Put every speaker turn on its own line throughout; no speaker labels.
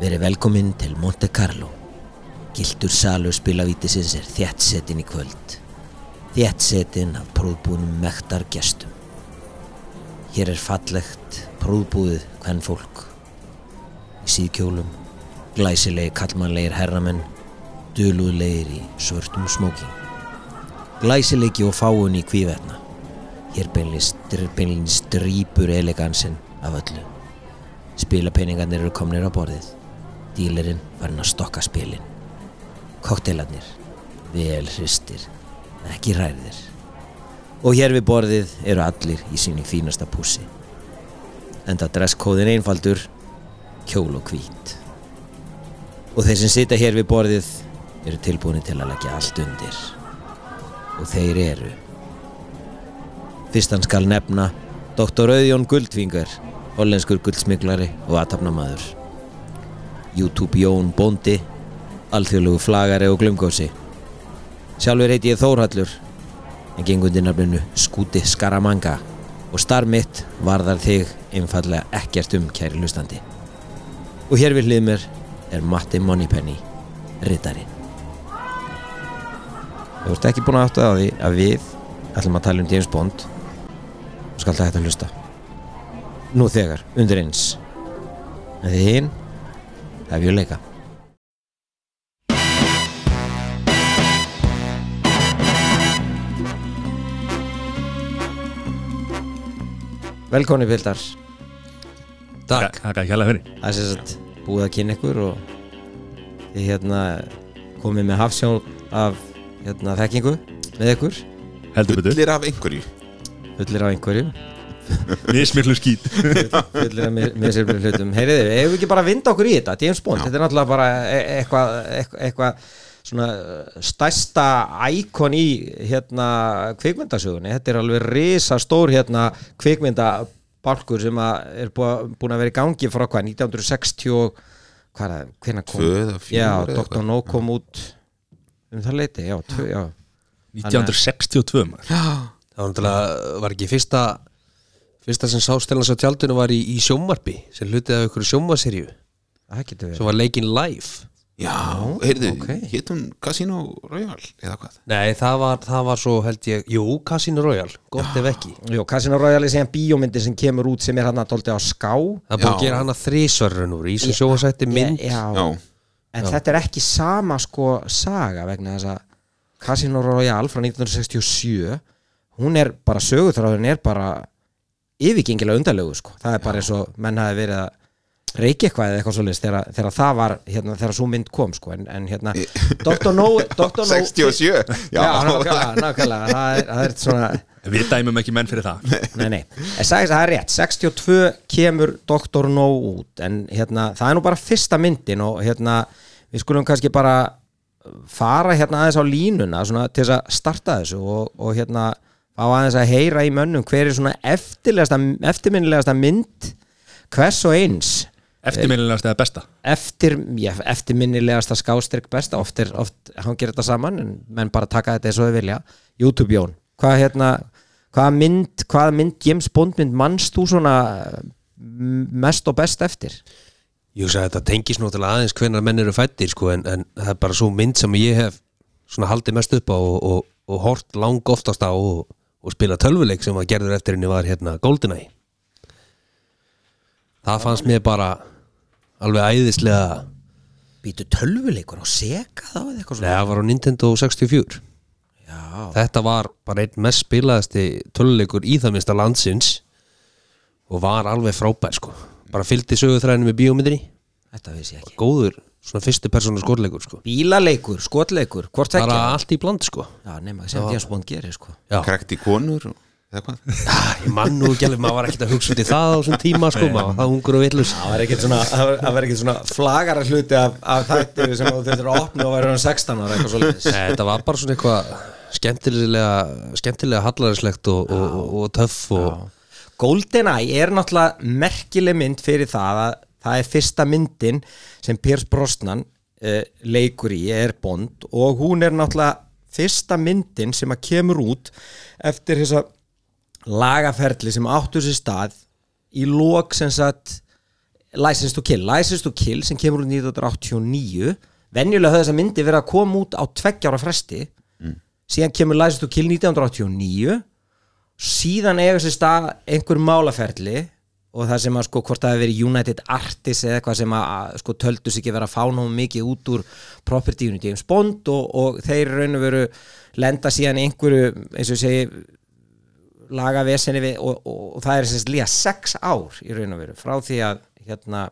Verið velkominn til Monte Carlo. Gildur salur spilavítisins er þjættsetin í kvöld. Þjættsetin af prófbúðnum mektar gestum. Hér er fallegt, prófbúðið hvern fólk. Í síðkjólum, glæsilegi kallmannlegir herramenn, dulúðlegir í svörtum smóki. Glæsilegi og fáun í kvíverna. Hér beinlins, beinlins drýpur elegansinn af öllu. Spilapeningarnir eru komnir á borðið. Dílerinn farinn að stokka spilin. Kokteilarnir, vel hristir, ekki ræðir. Og hér við borðið eru allir í sínu fínasta pússi. Enda dresskóðin einfaldur, kjól og hvít. Og þeir sem sita hér við borðið eru tilbúinir til að leggja allt undir. Og þeir eru. Fyrstan skal nefna Dr. Auðjón Guldfingar, hollenskur guldsmiklari og aðtapnamaður. YouTube Jón Bondi, alþjóðlugu flagari og glumgósi. Sjálfur heiti ég Þórhallur, en gengur undir nafninu Skúti Skaramanga og starf mitt varðar þig einfallega ekkert um kæri hlustandi. Og hér við hlið mér er Matti Moneypenny, rittari. Þú ert ekki búin að átta á því að við ætlum að tala um James Bond og skal það hægt að hlusta nú þegar, undir eins en því hinn hef ég leika Velkonni Pildar
Takk Takk að hjálpa fyrir
Það er sem sagt búið að kynna ykkur og þið hérna komið með hafsjón af hérna þekkingu með ykkur
Heldur betur
Fullir af einhverju
fullir af einhverju
Mismiklu skít
fullir af mis- misjöfnum hlutum Heyriði, hefur við ekki bara að vinda okkur í þetta James Bond, þetta er náttúrulega bara e- eitthvað eitthvað, eitthvað svona uh, stærsta íkon í hérna kvikmyndasögunni þetta er alveg risastór hérna kvikmyndabálkur sem að er búa- búin að vera í gangi frá hvað 1960 og- hvað er það, hvenær kom
Tvö eða fjögur
já,
eða
Dr. No kom út um það leiti, já, tvö, já.
1962 maður
Það var náttúrulega, var ekki fyrsta fyrsta sem sást til hans á tjaldinu var í, í sjómarpi sem hlutið af ykkur sjómaserju
það getur
sem
verið
var leikin live
Já, heyrðu,
ok.
hétt hún Casino Royale eða hvað
Nei, það var, það var svo held ég Jú, Casino Royale, gott ef ekki
Jó, Casino Royale er síðan bíómyndi sem kemur út sem er hann að tóldi á ská
Það er
Já.
búið að gera hana þrísörrun úr í sem sjóasætti mynd
Já,
Já,
En þetta er ekki sama sko saga vegna þess að Casino Royale frá 1967 hún er bara sögutráðurinn er bara yfirgengilega undarlegu sko það er bara eins og menn hafi verið að reykja eitthvað eða eitthvað svoleiðis þegar, þegar það var hérna, þegar svo mynd kom sko en, en hérna Dr. No, Dr. no
67
Já, nákvæmlega, nákvæmlega það er, það er svona
En Við dæmum ekki menn fyrir það
Nei, nei, en sagðist að það er rétt 62 kemur Dr. No út en hérna, það er nú bara fyrsta myndin og hérna, við skulum kannski bara fara hérna aðeins á línuna svona, til þess að starta þessu og, og hérna, á aðeins að heyra í mönnum hver er svona eftirlegasta eftirminnilegasta mynd hvers og eins
Eftirminnilegast eða besta
eftir, já, eftirminnilegasta skástrík besta, oft er, oft hangir þetta saman en menn bara taka þetta eins og þau vilja YouTube Jón, hvað hérna hvaða mynd, hvaða mynd, James Bond mynd mannst þú svona m- mest og best eftir?
Jú, sagði, þetta tengis náttúrulega aðeins hvenar menn eru fættir sko, en, en það er bara svo mynd sem ég hef svona haldið mest upp á og, og, og hort lang oftast á og, og spila tölvuleik sem að gerður eftir henni var hérna GoldenEye Það fannst mér bara alveg æðislega
Býtu tölvuleikur og seka þá eða eitthvað
Nei, það var á Nintendo 64
Já,
Þetta var bara einn mest spilaðasti töluleikur í það minnsta landsins og var alveg frábær sko bara fylgdi söguþræðinu með bíómyndinni
þetta vissi ég ekki.
góður, svona fyrstu persónu skorleikur sko
Bílaleikur, skotleikur, hvort
bara
ekki?
allt í bland sko
Já, nema, sem James Bond gerir sko.
Já,
Krekti konur og- eða hvað
ég mann nú ekki alveg, maður var ekkert að hugsa út í það á þessum tíma sko, maður var það ungur og villus
Það var ekkert svona, það var- það var ekkert svona flagara hluti af, af þættir sem þú þurftir að opna og verður hann 16 ára eitthvað svolítið.
Þetta var bara svona eitthvað skemmtilega, skemmtilega hallarislegt og, og, og, og töff og
GoldenEye er náttúrulega merkileg mynd fyrir það að það er fyrsta myndin sem Piers Brosnan uh, leikur í er Bond og hún er náttúrulega fyrsta myndin sem að kemur út eftir þessa lagaferli sem áttur sér stað í lok sem sagt License to Kill License to Kill sem kemur úr 1989 venjulega höfðu þess að myndi verið að koma út á tveggjára fresti síðan kemur License to Kill 1989 síðan eiga sér stað einhver málaferli og það sem að sko hvort það hefur verið United Artists eða eitthvað sem að, að sko töldu sig ekki vera að fá nógu mikið út úr propertyinu James Bond og, og þeir raun og veru lenda síðan í einhverju eins og ég segi laga vesenni við og, og, og það er semst líka sex ár í raun og veru frá því að hérna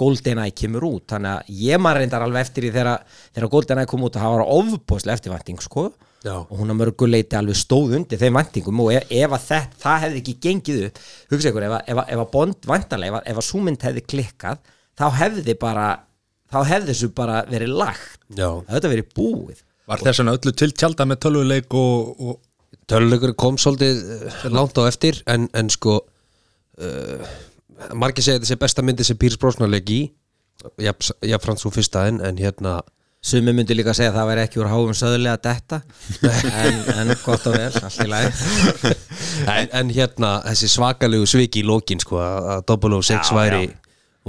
GoldenEye kemur út þannig að ég maður reyndar alveg eftir í þegar, þegar GoldenEye kom út að það var ofbúðslega eftirvænting sko
Já.
og hún að mörguleiti alveg stóð undir þeim væntingum og ef, ef að það, það hefði ekki gengið upp hugsa ykkur, ef að, ef að, ef að Bond væntanlega, ef að, ef að súmynd hefði klikkað þá hefði bara þá hefði þessu bara verið lagt
Já.
það hefði verið búið
Var þess vegna öllu til tjálta með tölvuleik og, og
tölulegur kom svolítið eh, langt á eftir en, en sko uh, margir segja að þetta sé besta myndi sem Pírs Brósnarleik í jafnframt svo fyrsta en, en hérna
Sumi myndi líka segja að það væri ekki úr háum söðulega að detta en, en gott og vel, allt í lagi
en, en hérna þessi svakalegu sviki í lókin sko að að 006
Já,
væri
já.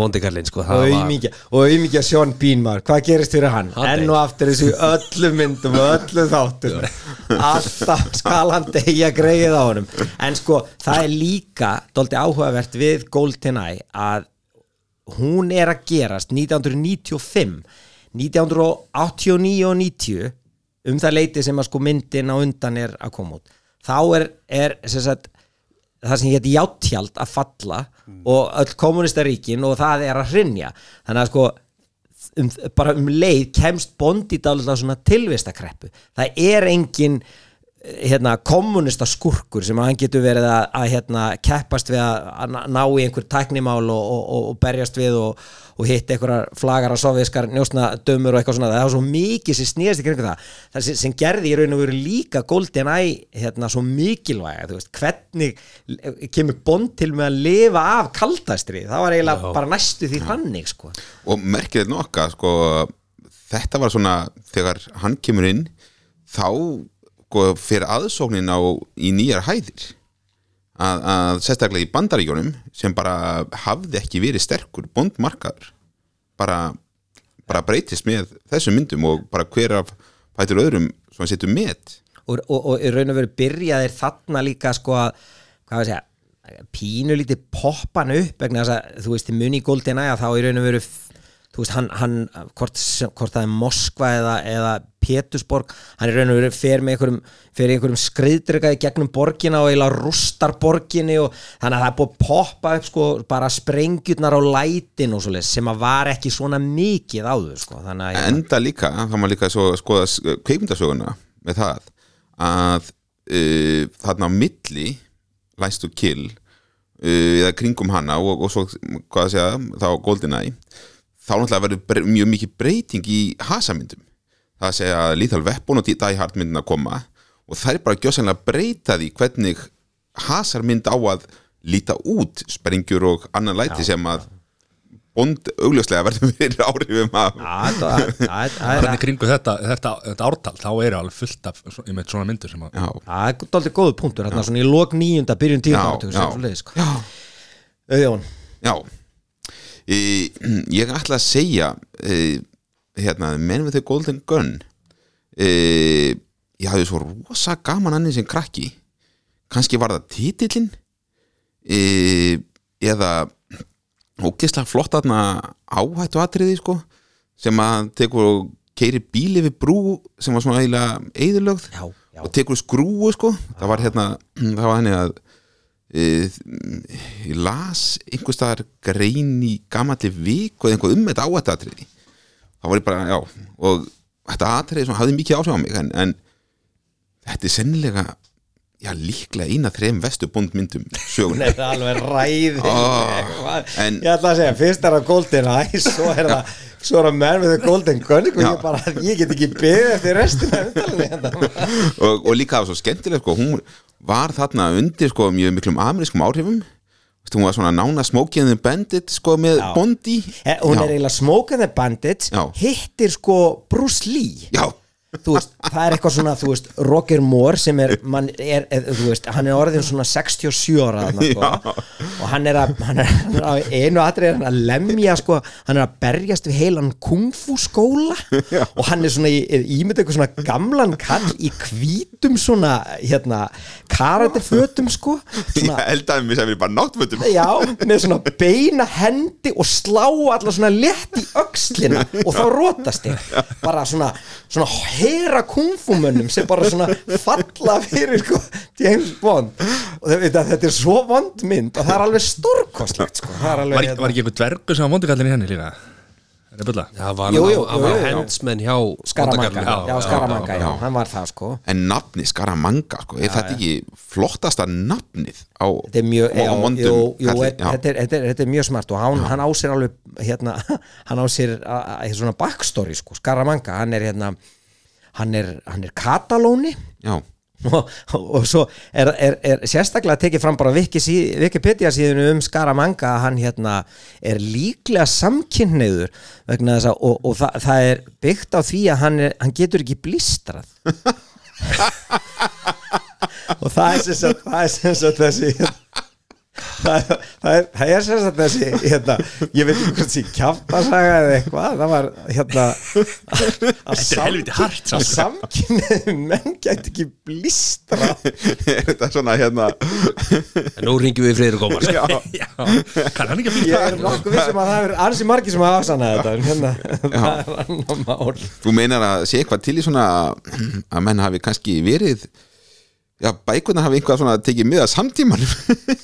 vondikarlinn sko það
og
var-
auðmíkja, og auðmíkja Sean Bean maður hvað gerist fyrir hann?
Hann
Enn
deyr.
og aftur þessu í öllum myndum og öllum þáttum alltaf skal hann deyja greið á honum en sko, það er líka dóldi áhugavert við GoldenEye að hún er að gerast 1995 1989 og 90 um það leiti sem að sko myndin á undan er að koma út þá er, er sem sagt, það sem hétt játtjald að falla og öll kommunistaríkin og það er að hrinja þannig að sko um, bara um leið kemst Bond í dálitlega svona tilvistakreppu það er engin eh, hérna, kommunista skurkur sem hann getur verið að, að hérna, keppast við að að ná- ná í einhver tæknimál og, og, og, og berjast við og, og hitt einhverjar flagar að soviskar njósna dömur og eitthvað svona það var svo mikið sem snýðast í kringum það það sem, sem gerði í raun og veru líka GoldenEye hérna, svo mikilvæga þú veist, hvernig eh, kemur Bond til með að lifa af kaldastri það var eiginlega bara næstu því þannig sko.
og merkið er nokka sko, þetta var svona þegar hann kemur inn þá sko, fyrir aðsóknin á í nýjar hæðir að, að sérstaklega í bandaríkjónum sem bara hafði ekki verið sterkur bondmarkaður bara, bara breytist með þessum myndum og bara hver af fætur öðrum svona um setjum með
og, og, og í raun og veru byrja þeir þarna líka sko að hvað var að segja, pínu lítið poppan upp vegna þess að þú veist í muni í GoldenEye að þá í raun og veru f- þú veist hann, hann hvort, sem- hvort það er Moskva eða, eða Pétusborg hann í raun og veru fer með einhverjum fer í einhverjum skriðdrega í gegnum borgina og eiginlega rústar borginni og þannig að það er búið að poppa upp sko bara sprengjurnar á lætin og svoleiðis sem að var ekki svona mikið áður sko þannig að
enda líka, það var líka svo að skoða s- kveikmyndasöguna með það að uh, þarna á milli læst og kill uh, eða kringum hana og, og svo hvað að segja, þá GoldenEye þá náttúrulega verður bre- mjög mikið breyting í hasamyndum það að segja að Lethal Weapon og Die Hard myndin að koma og það er bara gjössanlega breyta því hvernig hasarmynd á að líta út sprengjur og annan læti sem að bond augljóslega verður verið áhrifum af
Já, það- það- það-
Þannig kringu þetta, þetta, þetta ártal þá eru alveg fullt af svo- einmitt svona myndur sem að
Já,
Það er daldið góðu punktur, þarna svona í lok nýjunda, byrjun
Já,
tíunda átug,
já.
sem svo leiðis, sko. Auðjón,
já e, Ég ætla að segja e, hérna, menn við þau Golden Gun e, ég hafði svo rosa gaman annir sem krakki kannski var það titillin e, eða ógislega flott aðna áhættu atriði sko sem að tekur keiri bíli við brú sem var svona eiginlega eðurlögð
já, já,
og tekur skrúu sko það var hérna, það var henni að e, ég las einhvers staðar grein í gamalli vik og einhver um þetta á þetta atriði þá var ég bara, já og þetta atriði svona hafði mikið áhrif á mig en, en þetta er sennilega já líklega eina þreim vestubund myndum sögun
þetta er alveg ræðið,
en-
ég ætla að segja, fyrst er það Golden Eye, svo er það, svo er það menn við þau Golden Gun, og
Já.
ég bara, ég get ekki byggðið eftir restina, af umtalinu hérna.
og, og líka það var svo skemmtileg sko, hún var þarna undir sko, mjög miklum amerískum áhrifum Veistu, hún var svona nána Smokey and the Bandit sko, með
Já.
Bondi
Eh, hún
Já.
er eiginlega Smoke and the Bandits,
Já.
hittir sko Bruce Lee,
já
þú veist, það er eitthvað svona, þú veist, Roger Moore sem er, man, er eð, þú veist, hann er orðin svona 67 ára þarna, sko, og hann er að, hann er, hann er að einu atrið er hann að lemja, sko, hann er að berjast við heilan kungfu skóla og hann er svona, í- er ímynd eitthvað svona gamlan kall í hvítum svona, hérna, karatifötum, sko,
Ég
svona,
eldaði mig sem við bara náttfötum
Já, með svona beina hendi og slá alla svona létt í öxlina og þá rótast ég bara svona, svona hera kungfumönnum sem bara svona falla fyrir sko, James Bond og þau veit að þetta er svo vond mynd og það er alveg stórkostlegt sko. það er
var,
alveg
var ekki einhver dvergu sem var vondikallin í henni líka er það bulla?
Það var,
Jú, jú,
hann
jú,
var
jú, jú.
handsmenn hjá
Skaramanga,
Vondakarlinum.
já, Skaramanga, já, hann var það sko
En nafni Skaramanga, sko, er þetta ekki flottasta nafnið á
þetta er mjög
á
já,
vondum
jú, jú,
kalli?
er,
Já.
þetta, er, þetta, er, þetta er mjög smart og hann, hann á sér alveg hérna, hann á sér a, a, svona backstory sko, Skaramanga, hann er hérna hann er, hann er katalóni
Já,
og, og svo er, er, er sérstaklega tekið fram bara Wiki sí- Wikipedia síðinu um Skaramanga að hann hérna er líklega samkynniður vegna þess að og, og það, það er byggt á því að hann, er, hann getur ekki blístrað og það er sem sagt, það er sem sagt þessi Það, það, er, það er sem sagt þessi hérna, ég veit ekki hvort því kjaftasaga eða eitthvað, það var hérna að
Þetta er helviti hart,
að
samt. sko.
samkynniðu menn gæti ekki blístra
er þetta svona hérna
En nú ringjum við Friður Gómar
Já,
Já, kann hann ekki
ég
að flýta
er nokkuð vissum að það er ansi margir sem hafa afsannað þetta en hérna, það er annar mál
þú meinar að sé eitthvað til í svona að menn hafi kannski verið Já, bækunar hafi einhvað svona tekið miða samtímanum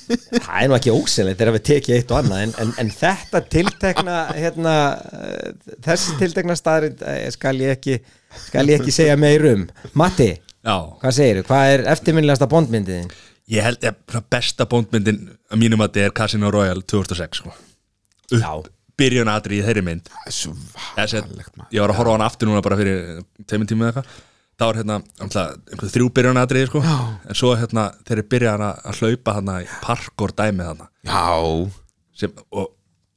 það er nú ekki ósilegt þegar við tekið eitt og annað en, en, en þetta tiltekna hérna, eh, þessi tiltekna staðrind skal ég ekki skal ég ekki segja meir um Matti,
Já,
hvað segirðu? Hvað er eftirminnilegasta bondmyndiðin?
Ég held að svona besta bóndmyndin að mínum að þetta er Casino Royale 2006 sko.
Já.
Byrjun aðri í þeirri mynd Þessi, Ég var að horfa á hann aftur núna bara fyrir tveimur tíma eða eitthvað þá var hérna alltaf, einhver þrjú byrjun aðri sko. en svo hérna þeir eru byrjað að- að hlaupa hann í parkour dæmi þarna
Já,
sem, og,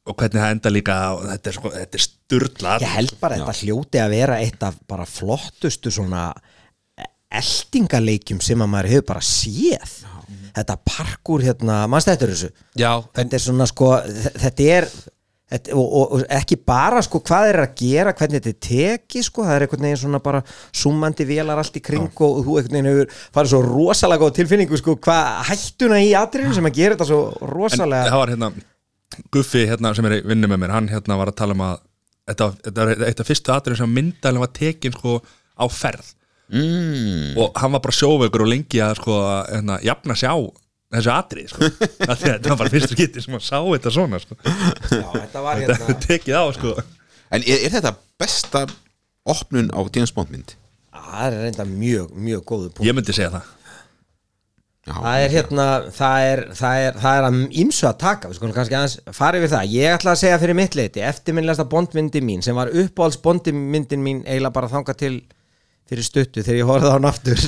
og hvernig það enda líka og þetta er, sko, þetta er styrla
Ég held bara að þetta hljóti að vera eitt af bara flottustu svona eldingaleikjum sem að maður hefur bara séð þetta parkur hérna, mannst þetta er þessu
Já, en
þetta er svona sko, þ- þetta er þetta, og, og, og ekki bara sko hvað er að gera, hvernig þetta er teki sko, það er einhvern veginn svona bara súmandi vélar allt í kring og þú einhvern veginn hefur farið svo rosalega góð tilfinningu sko, hvað hættuna í atriðinu sem að gera þetta svo
en
rosalega
það var hérna Guffi hérna sem er í vinnu með mér hann hérna var að tala um að þetta, var- þetta var eitt af fyrstu atriðum sem myndalinn var tekin sko á ferð mm. og hann var bara sjóveikur og lengi að sko að, hérna, jafna sig á þessu atrið sko Af því að þetta var bara fyrstu getið sem að sá þetta svona sko
Já, þetta var hérna-
þetta er tekið á sko
en er, er þetta besta opnun á James Bond mynd?
það er reynda mjög, mjög góðu punkt
ég myndi segja það
Já,
það er hérna, það er, það er, það er að ímsu að taka, við skulum kannski aðeins farið við það, ég ætla að segja fyrir mitt leiti eftirminnlegasta bondmyndi mín sem var uppáhalds bondmyndin mín eiginlega bara þanga til fyrir stuttu þegar ég horfði á hann aftur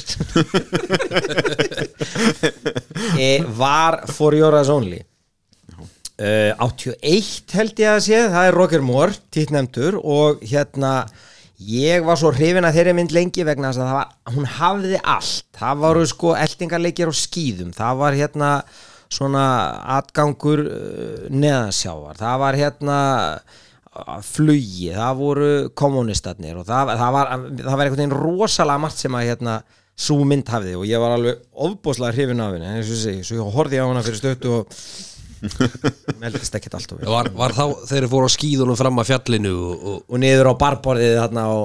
e, var For Your Eyes Only uh, 81 held ég að sé það er Roger Moore, títnefndur og hérna ég var svo hrifin að þeirri mynd lengi vegna þess að það var, hún hafði allt það varu sko eldingarleikir á skýðum það var hérna svona atgangur uh, neðansjávar það var hérna uh, flugi, það voru kommunistarnir og það, það var það var einhvern veginn rosalega margt sem að hérna svo mynd hafði og ég var alveg ofbúslega hrifin af henni, en eins og ég segi, svo ég horfði á hana fyrir stöttu og meldist ekkert allt og vel
var, var þá þeir fóru á skíðunum fram að fjallinu og, og
og niður á barborðið þarna og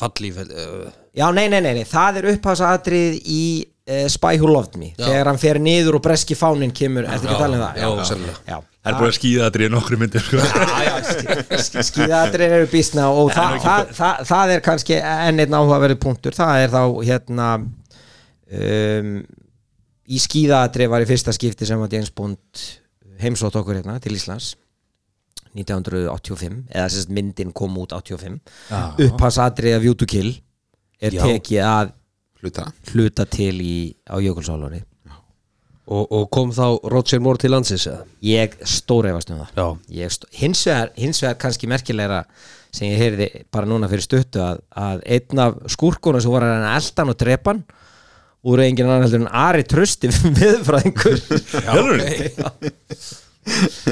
falli uh,
já nei nei nei, nei. það er upphafsatrið í uh, Spy Who Loved Me þegar hann fer niður og breski fáninn kemur ertu ekki að tala um það?
já, sennilega.
já,
það er búin að skýða atrið í nokkru myndir sko
skíðatrið eru bísna og það, það, það, það er kannski enn einn áhugaverði punktur það er þá hérna um, í skíðatrið var í fyrsta skipti sem að Jens Bond heimsótt okkur hérna til Íslands 1985 eða sérst myndin kom út 85 upphansatrið af View to Kill er
Já.
tekið að
hluta
hluta til í, á Jökulsálóri
og, og kom þá Roger Moore til landsins eða?
Ég stóreifast um það
Já.
Ég stó- hins, vegar, hins vegar kannski merkilegra sem ég heyrði bara núna fyrir stuttu að, að einn af skúrkunum sem voru að reyna eldan og drepan úr enginn annan heldur en Ari Trösti viðfræðingur
okay.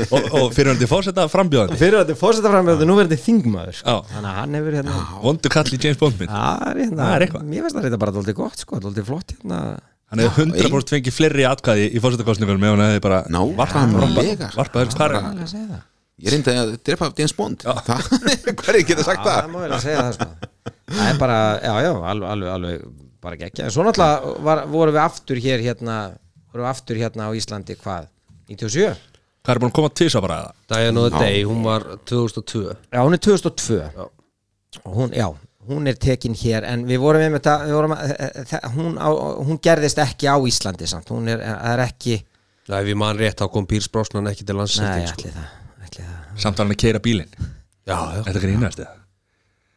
og, og fyrirhandi fórseta frambjóðandi
fyrir að þetta fórseta fram með þetta núverandi þingmaður sko.
Já.
þannig að hann hefur hérna
vondu kall í James Bond mynd
Það er hérna,
Það er eitthvað.
mér finnst það þetta bara dóldi gott sko, dóldi flott hérna
hann hefði 100% fengið fleiri atkvæði í fórsetakostningunum ef hann hefði bara
Nákvæmlega.
varpað varpa, varpa þessu hvar
Hvað er að segja það?
Ég reyndi að drepa James Bond Það, hverju geta sagt
það
það?
má verið að segja það sko það er bara, já já, alveg, alveg, alveg bara geggja, en svo náttúrulega var, vorum við aftur hér hérna vorum við aftur hérna á Íslandi hvað 97?
hvað er búin að koma til þess að bara það
Diana of the Day, hún var 2002
Já, hún er 2002 og hún, já, hún er tekin hér en við vorum með þetta við vorum, að- eh, eh, hún, á, hún gerðist ekki á Íslandi samt, hún er, eh, það er ekki
Það ef ég man rétt þá kom Pírs Brosnan ekki til landsins
nei,
held ég, sko.
ætli það, ætli það
samt var hann að keira bílinn
Já, já,
þetta grínast eða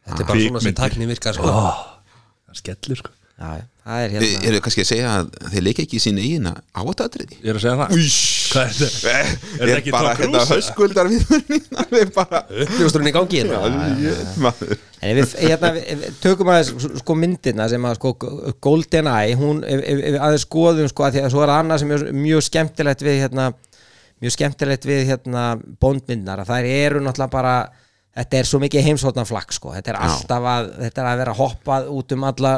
þetta er bara svona sem
Ah. Kvikmyndir. Ah.
tækni virkar sko.
það skellur sko
já, já, það er
Þið
hérna
eru kannski að segja að þeir leika ekki í sín eigin áatatriði
ég er að segja það hvað er þetta
Er
þetta ekki
bara
Tom
hérna
Cruise, eða?
höskuldar við Það er bara
Uppljóstrun í gangi hérna
Alveg, maður.
En ef við, hérna, við- ef við tökum aðeins sko myndina sem að sko Golden Eye, hún, ef, ef ef við aðeins skoðum sko að því að svo er annað sem er mjög skemmtilegt við hérna, mjög skemmtilegt við hérna bondmyndnar að þær eru náttúrulega bara, þetta er svo mikið heimsóttan flakk sko, þetta er alltaf að þetta er að vera hoppað út um alla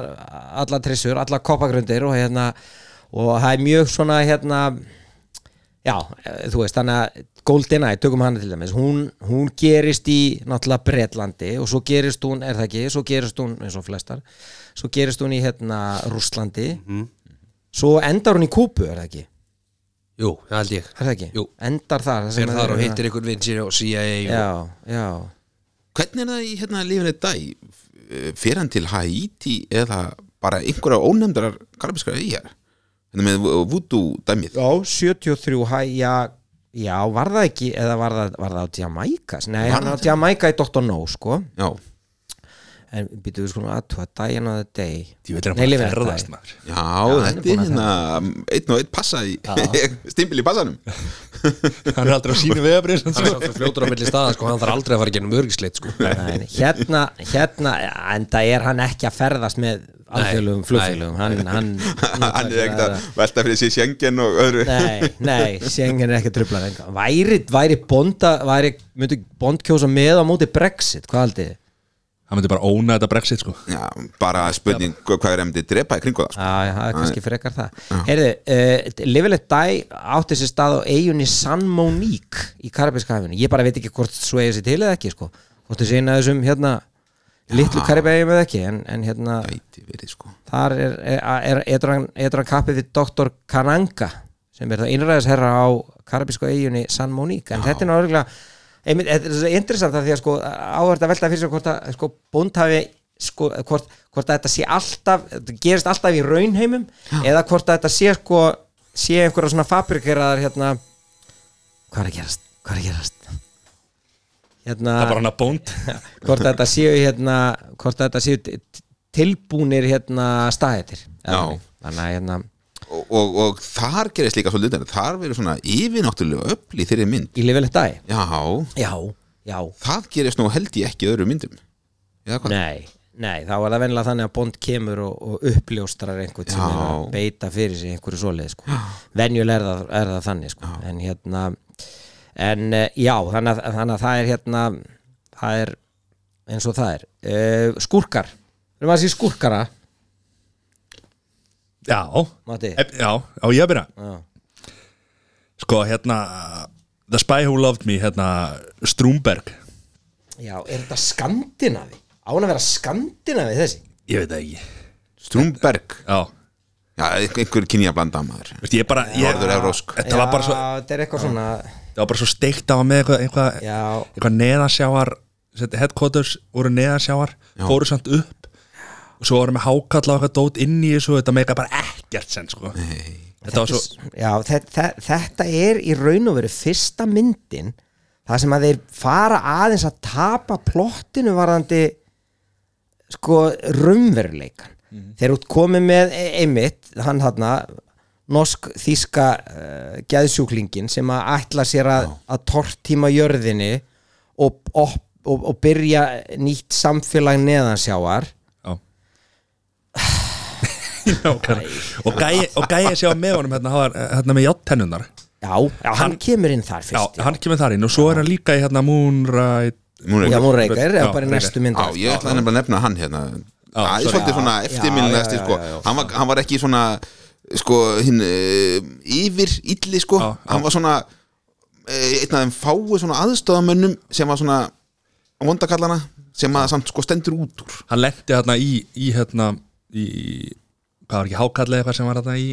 alla trissur, alla koppagrundir og hérna, og það er mjög svona hérna, Já, eh, þú veist, þannig að GoldenEye, tökum hana til dæmis, hún, hún gerist í náttúrulega Bretlandi og svo gerist hún, er það ekki, svo gerist hún, eins og flestar, svo gerist hún í hérna Rússlandi,
Mhm.
svo endar hún í Kúbu, er það ekki,
Jú, það held ég
er það ekki,
Jú.
endar þar, það sem
Sér
að-
þar og hittir einhvern vinsir og CIA og-
Já, já,
Hvernig er það í hérna lífinu dag? Fer hann til Haiti eða bara einhverja ónefndar karabískara íjar? Hérna með voodoo dæmið
já, 73, hæ, já, já, var það ekki, eða var það, var það á Jamaica, nei,
Var
hann
það
er á Jamaica í Dr. No, sko,
Já,
en býtum við skulum aðtúa, Dying of the Day,
ég veit
Nei,
hann bara
lifir þetta.
ferðast maður
já,
hann er
þetta er
búinn að
hérna einn og einn passa í stimpil í passanum
hann er aldrei á sínu sko. vegabrið
Hann er alltaf fljótur á milli staða sko, hann þarf aldrei að fara genum örgisleit sko.
Nei, hérna, hérna en það er hann ekki að ferðast með alþjóðlegum flugfélugum hann, hann,
Hann er ekkert að velta fyrir sér sjengen og öðru
nei, nei, Schengen er ekki að trubla enga. væri, væri bonda væri, myndi bond kjósa með á móti Brexit hvað haldið? þið?
hann myndi bara óna þetta brexit sko
Já, bara spurning hvað er emnið drepa í kringu
Æ,
það sko.
það er kannski frekar það heyrðu, uh, Livilet Dæ átti sér stað á eigunni San Monique í Karabíska hafinu, ég bara veit ekki hvort svo eigi sér til eða ekki, sko hvort þessi eina af þessum, hérna litlu Karabíka eða ekki, en, en hérna
Gæti verið sko
þar er, er, er etran, etran kappið við doktor Kananga sem er það innræðisherra á karabísku eiginni San Monique en þetta er náttúrulega einmitt, þetta er svo interessant að því að sko áhverð að velta fyrir sig hvort að sko búnd hafi sko, hvort, hvort að þetta sé alltaf þetta gerist alltaf í raunheimum eða hvort að þetta sé sko sé einhverja svona fabrikeraðar hérna hvað er að gerast, hvað er að gerast hérna
það er bara hann að bónd
hvort þetta séu hérna hvort þetta séu t- t- tilbúnir hérna staðetir
Já.
þannig að hérna
og, og, og þar gerist líka svolítið en Þar verið svona yfirnáttúrulega öfl í þeirri mynd
í lifilegt dag
Já,
já, já,
það gerist nú held ég ekki í öðrum myndum Eða hvað?
nei, nei þá er það venlega þannig að Bond kemur og, og uppljóstrar einhvern sem er að
Já.
beita fyrir sig einhverju svoleið sko. venjulega er, það- er það þannig sko. en hérna en eh, já, þannig að, þannig að það er hérna það er eins og það er uh, skúrkar, við erum að sé skúrkara
já
Matti.
Ef- já á ég að byrja
já,
sko hérna The Spy Who Loved Me hérna Strúmberg
já er þetta skandinavi? Án að vera skandinavi þessi?
ég veit það ekki
Strúmberg
já
Já, einhver kynja blanda maður
Vist, ég bara ég,
Norður evrósk
þetta var bara svo
Já, þetta er eitthvað svona
það var bara svo steikt á með eitthvað eitthvað,
Já.
eitthvað neðansjáar set- headquarters voru neðansjáar fóru samt upp og svo voru með hákall á eitthvað dót inn í þessu þetta meika bara ekkert sen sko. þetta var svo
Já, þetta, þetta er í raun og veru fyrsta myndin það sem að þeir fara aðeins að tapa plottinu varðandi sko raunveruleikan þegar út komið með e- einmitt hann hann norsk-þíska uh, geðsjúklingin sem að ætla sér að, að tortíma jörðinni og, og, og, og byrja nýtt samfélag neðansjáar
Já Já, bara- og gæi, og gæi sé á með honum hérna, hann var, eh, hérna með játtennunar
Já, já hann, kemur inn þar
Já,
fyrst
hann kemur þar inn og svo er hann líka í hérna Moonride
Nú er
Já,
ekki-
hún reykar,
Já,
eða bara í
Reykjavík.
næstu mynd
Já, ég ætlaði nefnilega að nefna hann hérna
Já,
Það er
sorry.
svolítið svona
Já,
eftirminnilegasti
já, já,
sko.
já, já.
hann, var- hann var ekki svona sko, hinn uh, yfir illi sko,
Já, já.
hann var svona uh, einn af þeim fáu svona aðstöðamönnum sem var svona vondakallana sem að samt sko stendur út úr
hann lendi hérna í, í hérna í, hvað var ekki hákallið eitthvað sem var hérna í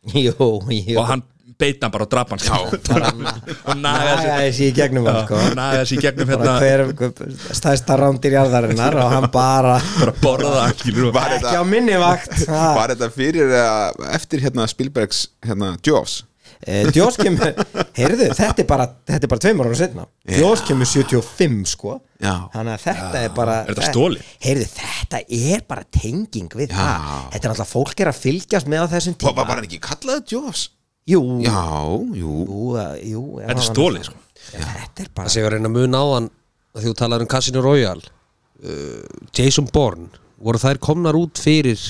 Jú, jú
og hann beita hann bara og drapa hann sko.
bara
og nagaði
nagaði sér í gegnum hann sko
sig nagaði sig í gegnum
bara
hérna
hver, hver stæðsta rándir jarðarinnar og hann bara
bara borða hann skilur og
Var
ekki á
þetta,
minni vakt ha.
var þetta fyrir að eftir hérna Spielbergs hérna Jaws
Eh, Jaws kemur, heyrðu, þetta er bara þetta er bara tveimur ára setna Jaws kemur 75 sko
Já.
þannig að þetta er bara
Er þetta stolið?
heyrðu, þetta er bara tenging við það þetta er alltaf fólk er að fylgjast með á þessum
Var,
tíma
var hann ekki kallaði Jaws?
jú,
Já, jú
jú, eh, jú ef
þetta
hann-
er stólið sko
þetta er
Það
bara
sem ég var að reyna að muna á hann að því þú talar um Casino Royale uh, Jason Bourne voru þær komnar út fyrir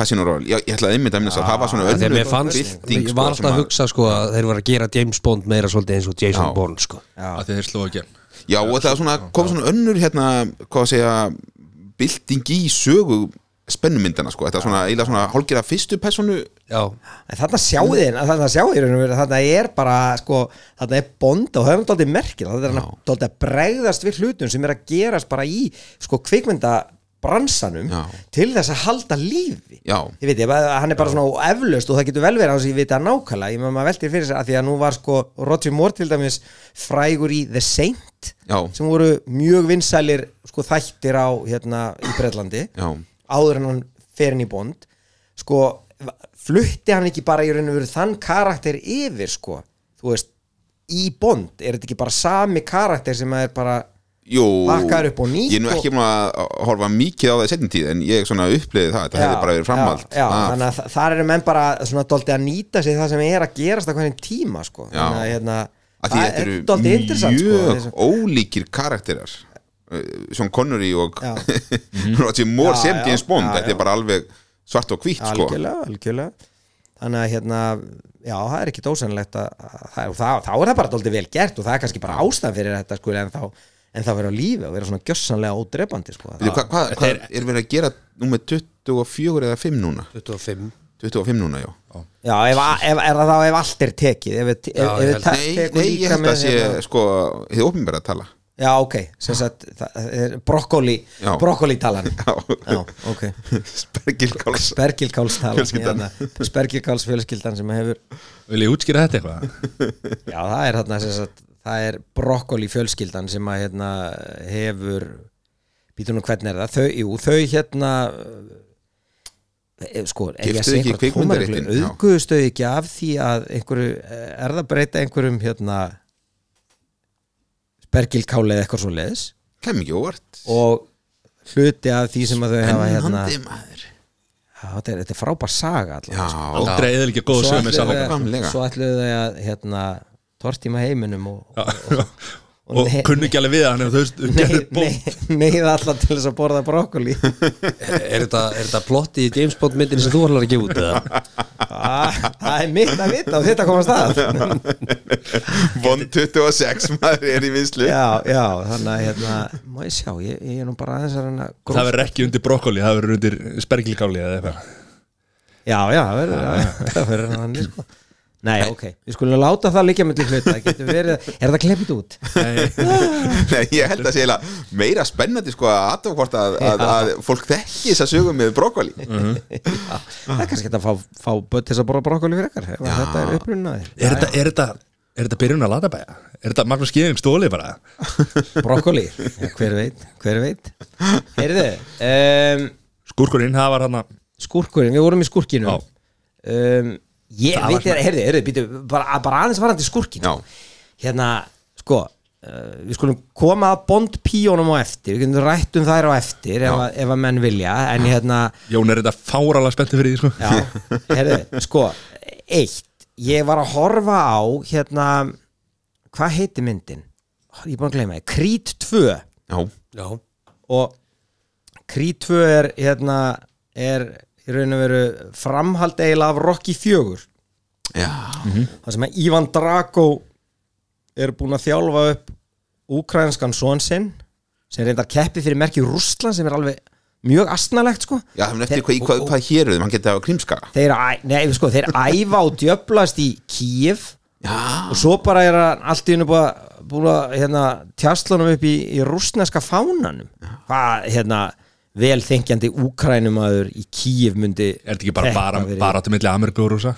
Casino Royale, Já, ég ætlaði einmitt að minna þess að það var svona
að því að
önnur
Ah, mér fannst,
bylting,
ég var
sem
alltaf að hugsa sko að þeir voru að gera James Bond meira svolítið eins og Jason
Já.
Bourne sko
að því þeir slóðu ekki hann.
Já, og það er svona, kom svona önnur hérna, hvað að segja bylting í sögu spennumyndana, sko, þetta er svona, eiginlega svona hálfgerða fyrstu personu,
Já,
En þarna sjáu þið, hérna, þarna sjáu þið raunum, þarna er bara, sko, þarna er bond og það er náttúrulega merkil, þarna er hann dálítið að bregðast við hlutum sem er að gerast bara í, sko, kvikmyndabransanum
Já.
til þess að halda lífi
Já.
ég veit, ég, bara- hann er bara svona eflaust og það getur vel verið að ég veit að nákvæmlega, ég maður maður veltir fyrir sér að því að nú var sko Roger Moore til dæmis frægur í The Saint
Já.
sem voru mjög vinsælir sko þættir á hérna í Bretlandi
já,
áður en hann fer inn í Bond sko, va- flutti hann ekki bara í raun og veru þann karakter yfir sko, þú veist í Bond, er þetta ekki bara sami karakter sem að er bara,
jú
Bakkaður upp á nýtt
Ég er nú ekki búin að horfa mikið á það í setjum tíð, en ég svona uppleiði það, þetta hefði bara verið framhald Ah.
já, já,
af-
þannig að þa- þar eru menn bara svona dóldi að nýta sig það sem er að gerast á hvernig tíma sko,
Já.
þannig að hérna
að því
það er
þetta
dálítið
eru
interessant sko,
mjög
þessu-
ólíkir karakterar uh, Sean Connery og
Já.
Roger Moore
Já,
sem
já,
James Bond,
já,
þetta
já.
er bara alveg svart og hvít, sko
algjörlega, algjörlega þannig að hérna, já, það er ekki ósennilegt að, að, að, þá, þá er það bara dóldi vel gert og það er kannski bara ástæðan fyrir þetta sko, en þá, en þá vera á lífi og vera svona gjössanlega ódrepandi sko.
Veitu, Hvað hva, hva, er verið að gera nú með 24 eða 5 núna?
25
25 núna, já
já, ef, ef, er það þá ef allt er tekið ef, ef, ef,
ég
ef
held-
ta-
Nei,
tekur
nei ég
líka
held að
með
sé
hérna-
sko, þið opinbæra að tala
já, ok, sem sagt það er brokkoli,
Já.
brokkoli talan
Já.
já, ok
Spergil Káls
Spergilkáls
Fjölskyldan.
talan Spergilkáls fjölskyldan sem hefur
vil ég útskýra þetta eitthvað?
Já, það er þarna sem sagt, það er brokkoli fjölskyldan sem að hérna hefur býtum nú hvernig er það, þau, jú, þau hérna eh, sko, ef ég
Keyptu
sé
ekki
einhver tómarreglu
kvikmyndaréttinn, já.
auðguðustu ekki af því að einhverju, eh, er það breyta einhverjum hérna spergilkáli eða eitthvað svo leiðis
Kem ekki óvart
og hluti af því sem að þau hafa hérna
Ennandi
já,
maður
þetta er, þetta er frábær saga allavega
Já,
aldrei eða ekki góð
svo
sögum með
ætluðu
sannleika
þau-
Nákvæmlega.
svo ætluðu þau að hérna, tortíma heiminum og,
Já.
og-
og
nei-
kunnu ekki alveg við hann ef þau gerðu bók
neyða alla til þess að borða brokkoli
Er þetta, er þetta plotti í James Bond myndin sem þú ætlar að gefa út eða?
Ah, það er mitt að vita og þetta komast að já,
von 26 maður er í vinslu
já, þannig að hérna, má ég sjá, ég, ég er nú bara aðeins að reyna að
það
gróf-
verður ekki undir brokkoli, það verður undir spergilkáli eða eitthvað
já, já, það verður það verður þannig sko nei, ok, við skulum láta það líka með til hluta það getur verið, er það kleppið út
Nei, ég held að sé eiginlega meira spennandi sko að aðtöf hvort að, að, að fólk þekki þess að sögum með brokkoli
það er kannski hægt að fá, fá börn til þess að borða brokkoli fyrir ekkar, þetta er upprunnaðir
er þetta, er þetta, er þetta byrjun að latabæja? er þetta Magnús Geðing stólið bara?
brokkoli, ja, hver veit hver veit, heyrðu um,
skúrkurinn, það var hann
skúrkurinn, við vorum í skúrkinu
Já.
um, ég
Það var
veit þér, heyrðu, heyrðu, býtu bara, bara aðeins varandi skúrkinu
Já.
hérna, sko uh, við skulum koma að bond píónum á eftir við getum rætt um þær á eftir ef, að- ef að menn vilja, en hérna
Jón er þetta fáralega spenntið fyrir því sko.
já, heyrðu, sko eitt ég var að horfa á hérna, hvað heiti myndin ég er búin að gleyma því, Creed 2
já,
Já,
og Creed 2 er hérna, er í raun og veru framhald eiginlega af Rocky 4
já,
það sem að Ivan Drago er búin að þjálfa upp úkraínskan son sinn sem reyndar keppi fyrir merki Rússland sem er alveg mjög astnalegt sko
já það er eftir hvað, hvað, hvað héruðum, hann geti að krimska
þeir, æ- nei, sko, þeir æfa og djöflast í Kiev
já,
og svo bara er hann allt í hennu búið að, búið að hérna, tjastlunum upp í, í rússneska fánanum hvað hérna velþengjandi úkrænumaður í Kiev myndi
Er þetta ekki bara bara, bara til milli Ameríku og Rúsa?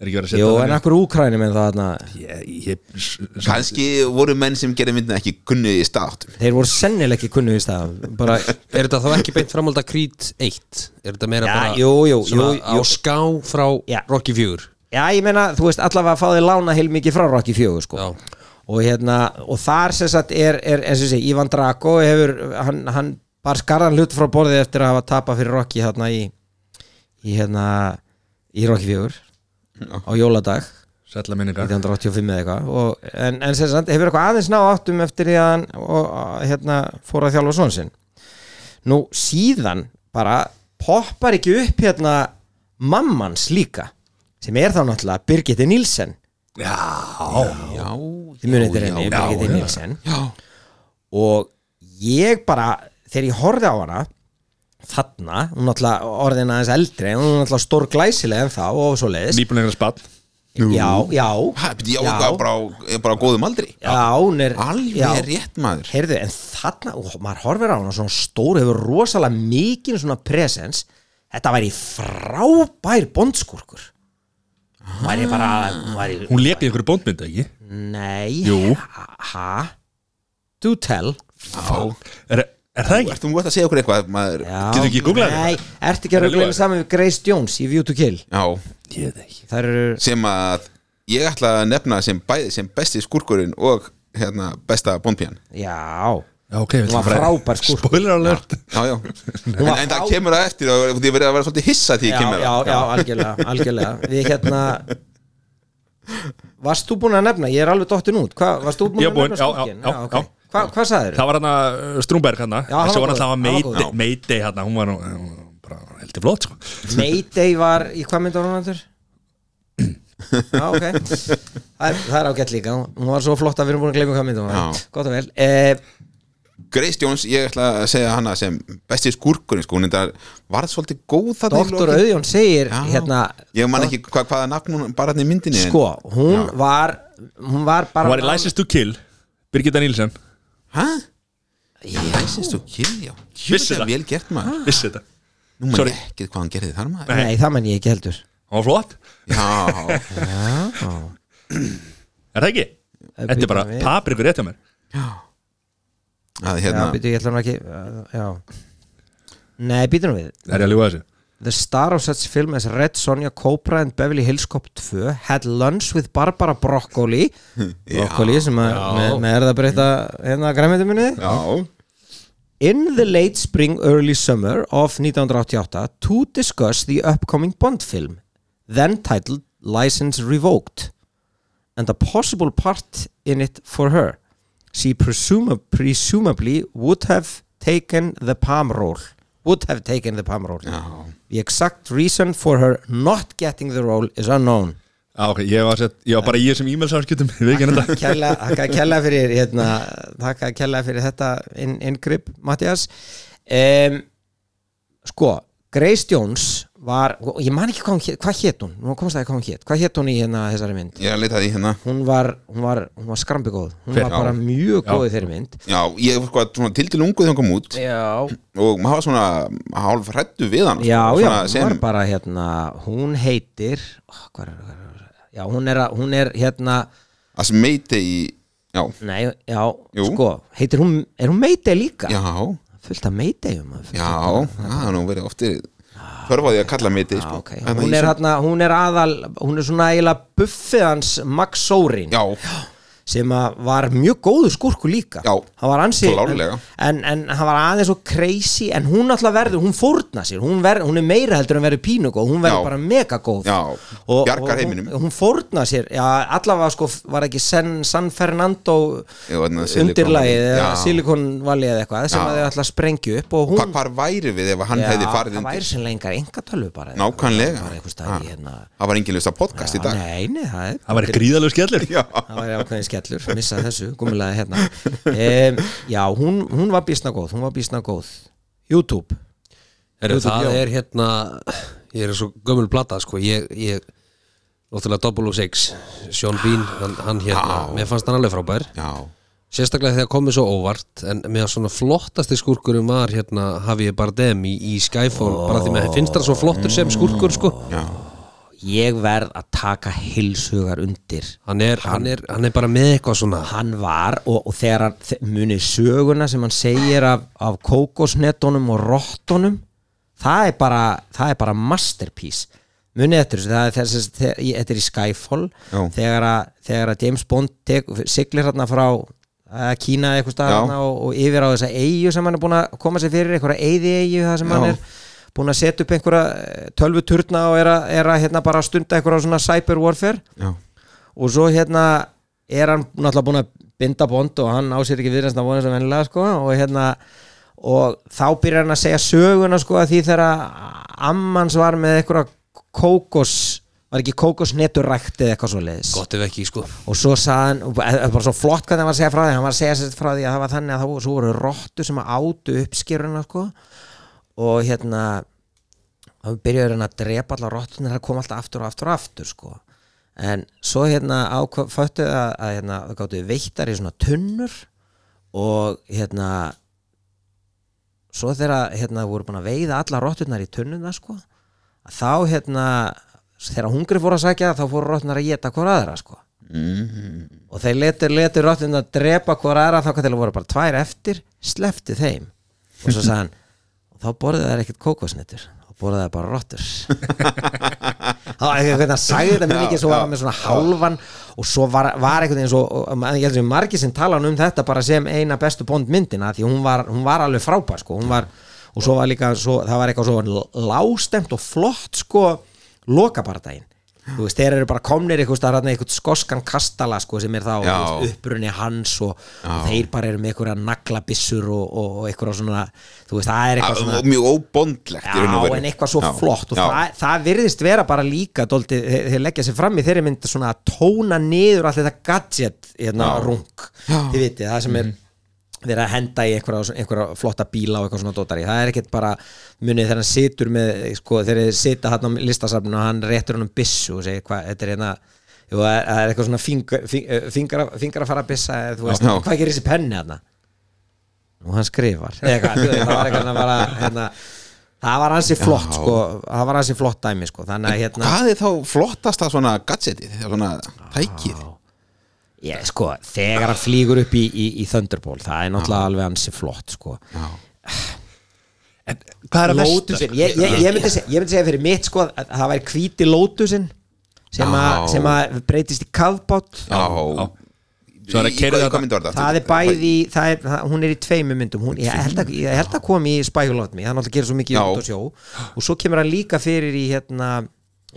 Er ekki verið að setja hérna
Jó, en
það niður?
akkur úkrænum en það hérna,
Ég, ég, s- s-
kannski voru menn sem gerði myndina ekki kunni í státtum
þeir voru sennilega ekki kunnu í stað bara
er þetta þá ekki beint framhald að Creed 1? Er þetta meira
Já,
bara
jú, jú,
svona
jú, jú.
á ská frá
Já.
Rocky 4?
Já, ég meina, þú veist, allavega fáði lána heil mikið frá Rocky 4, sko
Já.
og hérna, og þar sem sagt er, er eins og sé, Ivan Drago hefur, hann, hann bar skarðan hlut frá borðið eftir að hafa tapað fyrir Rocky hérna í, í hérna í Rocky 4 á jóladag
Sætla minningar
1985 eða eitthvað og, en, en sem sagt, hefur eitthvað aðeins ná áttum eftir því að hann og, að, hérna, fór að þjálfa svona sinn nú síðan bara poppar ekki upp hérna mammans líka sem er þá náttúrulega Birgitte Nilsen
Já,
já,
þið munið þetta reyni,
já,
Birgitte
já.
Nilsen og ég bara þegar ég horfði á hana þarna, hún náttúrulega orðin aðeins eldri en hún er náttúrulega stór glæsileg en þá og svo leiðis
nýbúinlega spann
já, já,
ha, beti, já, já. Bara, á- er bara á góðum aldri
já, hún er
alveg
já.
rétt maður
Heyrðu, en þarna, og maður horfir á hana svona stór, hefur rosalega mikinn svona presens, þetta væri frábær bondskurkur hún væri bara hún væri,
Ah. Hún lék í einhverju bóndmyndu, ekki?
nei,
Jú.
ha, ha do tell
Er, er það
Þú
ekki?
ert, þú ert að segja okkur eitthvað maður
Já.
Getur ekki googlað þetta?
nei, ertu ekki að
Er
röglega
ljóðið?
saman við Grace Jones í View to Kill
já,
Ég veit ekki
það eru,
sem að ég ætla að nefna sem bæði sem besti skurkurinn og hérna, besta bondpían
já
Já, ok, við
Hún var
ætlum bara-
frábær sko. skúrkur.
Spoiler alert
já, já. en,
var
en það
frá-
kemur að eftir og því verið að vera svolítið hissa því
já,
ég kemur
já,
að
já, algjörlega, algjörlega við hérna varst þú búin að nefna, ég er alveg dottin út Hva, varst þú búin
Já,
að
búinn,
nefna
já, já,
skugginn?
já,
ok.
já.
Hva, hvað sagðir
Það var hann að Strúmberg hann
Já, hann
Þessi
var
var
góður,
alltaf að
hann var
Mayday-
góður.
Mayday hann Hún var nú- hún var bara heldur flott sko.
Mayday var í hvað mynd var hún andur? Já, ok Það er, það er ágætt líka, hún var svo flott að við erum búin að gleyma hvað mynd hún var
Já.
Gott og vel eh,
Grace Jones, ég ætla að segja hana sem besti skurkurinn sko, hún þetta varð svolítið góð þarna í
Doktor
lokin.
Auðjón segir
Já.
hérna
ég man ekki hva, hvaða nafn hún bara hann í myndinni en-
Sko, hún var Hún var bara
Hún var í License to Kill Birgitta Nílsen
hæ? ég læsist þú kýrjá
Vissi
það
það.
vel gert maður
Vissi þetta
nú man
Sorry.
ég ekki hvað hann gerði þar maður
Nei, það menn ég ekki heldur
Hún var flott
já,
Er það ekki? Þetta er bara
býtum við.
paprikur rétt hjá mér
að
Já,
hérna
býtu, ég ætla hann ekki uh, Já Nei, býtu nú við
Er ég að ljúga þessu?
The star of such film as Red Sonja Cobra and Beverly Hills Cop 2 had lunch with Barbara Broccoli Broccoli sem að með, með erðabreyta hérna græmiðuminni
já,
In the late spring early summer of 1988 to discuss the upcoming Bond film then titled License Revoked and a possible part in it for her she presuma- presumably would have taken the palm role would have taken the palm role
já.
The exact reason for her not getting the role is unknown
Já, ok, ég var, sett, ég var bara í þessum e-mail samskiptum Við ekki þetta
Kjalla, þakka kjalla fyrir hérna, þakka kjalla fyrir þetta inn- inngrip, Mattias um, sko Grace Jones var og ég man ekki hvað hún hét, hvað hét hún? Nú komst það ekki hvað hún hét, hvað hét hún í hérna þessari mynd?
ég er að leita því hérna
Hún var, hún var, hún var skrambigóð hún
Hver?
var bara
Já.
mjög
Já.
góð í þeirri mynd
Já, ég var hvað, svona til til ungu þegar hann kom út
Já,
og maður var svona hálf hrættu við hann
já,
svona,
já, hún
sem,
var bara hérna hún heitir oh, hvað er, hvað er, já, hún er, að- hún er hérna
að sem meiti í já,
Nei, já,
Jú.
sko, heitir hún, er hún meitei líka?
já,
Fullt af meitei um að
já það er nú verið ofti þörfaði að kalla meiti
Já,
sko.
ok,
Þannig
hún
að
er
ég-
hérna, hún er aðal, hún er svona eiginlega buffið hans Max Sorin
já,
sem að var mjög góður skurku líka
Já,
hann var ansi
klárlega.
en, en hann var aðeins svo crazy en hún alltaf verður, hún fórna sér hún, ver, hún er meira heldur en verður pínugóð hún verður
Já.
bara megagóð
Já,
og, og hún,
bjargar heiminum.
hún fórna sér, já, allavega sko var ekki San, San Fernando
Jú, þarna Silicon
undirlagið
Valley.
eða
Já.
Silicon Valley eða eitthvað sem
Já.
að þau alltaf sprengju upp og hún
Hva, hvar væri við ef hann hefði farið
það væri
undir?
sem lengar enga tölvu bara
Nákvæmlega.
bara einhver stað í
Ah.
hérna
Það var enginn lösta podcast í dag
nei, nei, það er
Það væri gríðalegu skellir
Já,
það væri ákveðin skellur, missa þessu gummilega hérna um, já, hún, hún var bísna góð, hún var bísna góð YouTube
Heru,
Jú,
það
já.
er hérna ég er svo gömul plata sko ég, ég náttúrulega 006 Sean Bean, hann, hann hérna mér fannst hann alveg frábær
já,
sérstaklega þegar komið svo óvart en mér svona flottasti skurkurum var hérna Javier Bardem í, í Skyfall bara því mér finnst það svo flottur sem skurkur sko
Mm,
já,
ég verð að taka heilsugar undir
hann er, hann er, hann er bara með eitthvað svona
hann var og, og þegar hann þe- muni söguna sem hann segir af, af kókosnetunum og rottunum það er bara, það er bara masterpiece munið eftir þessu, það er þess þess- þe- í- þetta er í Skyfall
Já.
þegar að, þegar að James Bond tek, siglir hérna frá að Kína eitthvað
Já.
staðarna og, og yfir á þessa eigu sem hann er búin að koma sér fyrir einhverja eiði eigu það sem hann er búin að setja upp einhverja eh, tölvuturna og er að, er að hérna bara stunda einhverja svona cyber warfare
já
og svo hérna er hann náttúrulega búin að binda bond og hann á sér ekki viðræðsna vonið sem vennilega sko og hérna og þá byrjar hann að segja söguna sko að því þegar ammans var með eitthvað kókos var ekki kókosneturækt eða eitthvað svo leiðis
gott ef ekki sko
og svo sagði hann, og það er bara svo flott hvað hann var að segja frá því, hann var að segja sér frá því að það var þannig að þá svo voru rottu sem að átu uppskýruna sko og hérna þá byrjuður hann að drepa allar rottunir það kom alltaf aftur og aftur og aftur sko en svo hérna ákvöftu að, að hérna, það gáttu veittar í svona tunnur og hérna svo þegar hérna voru búin að veiða allar rottunar í tunnuna sko að þá hérna þegar hungri fór að sækja þá fóru rottunar að geta hvora aðra sko og þeir letur, letur rottin að drepa hvora aðra þá hvað til að voru bara tvær eftir slefti þeim og svo sagði hann og þá borðið þær ekkert kókosnettur þá borðið þær bara rottur þá er eitthvað hann sagði þetta mjög mikið svo var hann með svona hálfan og svo var, var eitthvað eins og og maður- ég held sem margir sem tala um þetta bara sem eina bestu bondmyndina því hún var, hún var alveg frábær sko hún var og svo var líka svo, það var eitthvað svo lástemt og flott sko lokabardaginn þú veist, þeir eru bara komnir eitthvað, eitthvað, eitthvað skoskan kastala sko, sem er þá
Já.
þú veist, uppruni hans og, og þeir bara eru með eitthvað naglabissur og, og, og eitthvað svona þú veist, það er eitthvað svona
Ah, Og Mjög óbondlegt í raun og
Já,
veru.
en eitthvað svo
Já,
flott og
já,
það, það virðist vera bara líka dólti, þeir, þeir leggja sér fram í þeirri mynd svona að tóna niður allt þetta gadget hérna
Já.
rung, þið vitið, það sem er verið að henda í einhverja, einhverja flotta bíla og eitthvað svona dótari, það er ekkert bara munið þegar hann situr með sko, þegar þeir sita hann á listasafninu og hann réttur hann um bissu og segir hvað, þetta er hérna jú, það er það er eitthvað svona fingur, fingur, fingur, fingur að fara að bissa, eða þú veist,
Já.
hvað gerir þessi penni hérna og hann skrifar Eða eitthvað, þú veist, það var eitthvað bara, hérna, það var hansi flott sko, það var hansi flott dæmi sko, þannig að hérna
Hvað er þá flottasta svona gadgetið þegar svona tækið
ég, sko, þegar hann flýgur upp í, í, í Thunderbolt, það er náttúrulega alveg hansi flott sko.
Já,
En hvað er sko. að versta?
Lótusin, ég, ég, ég, myndi segja, ég myndi segja fyrir mitt sko, að það væri hvíti Lótusin sem, a,
Já.
sem að breytist í kafbát
já
Svo er að
Í- í
keyrið
hvað- í
þetta-
hvað mynd var þetta?
það er bæði, það er, það, hún er í tveimu myndum hún, ég, held að, ég held að kom í spækulotmi það náttúrulega gerir svo mikið
Já.
út og sjó og svo kemur hann líka fyrir í hérna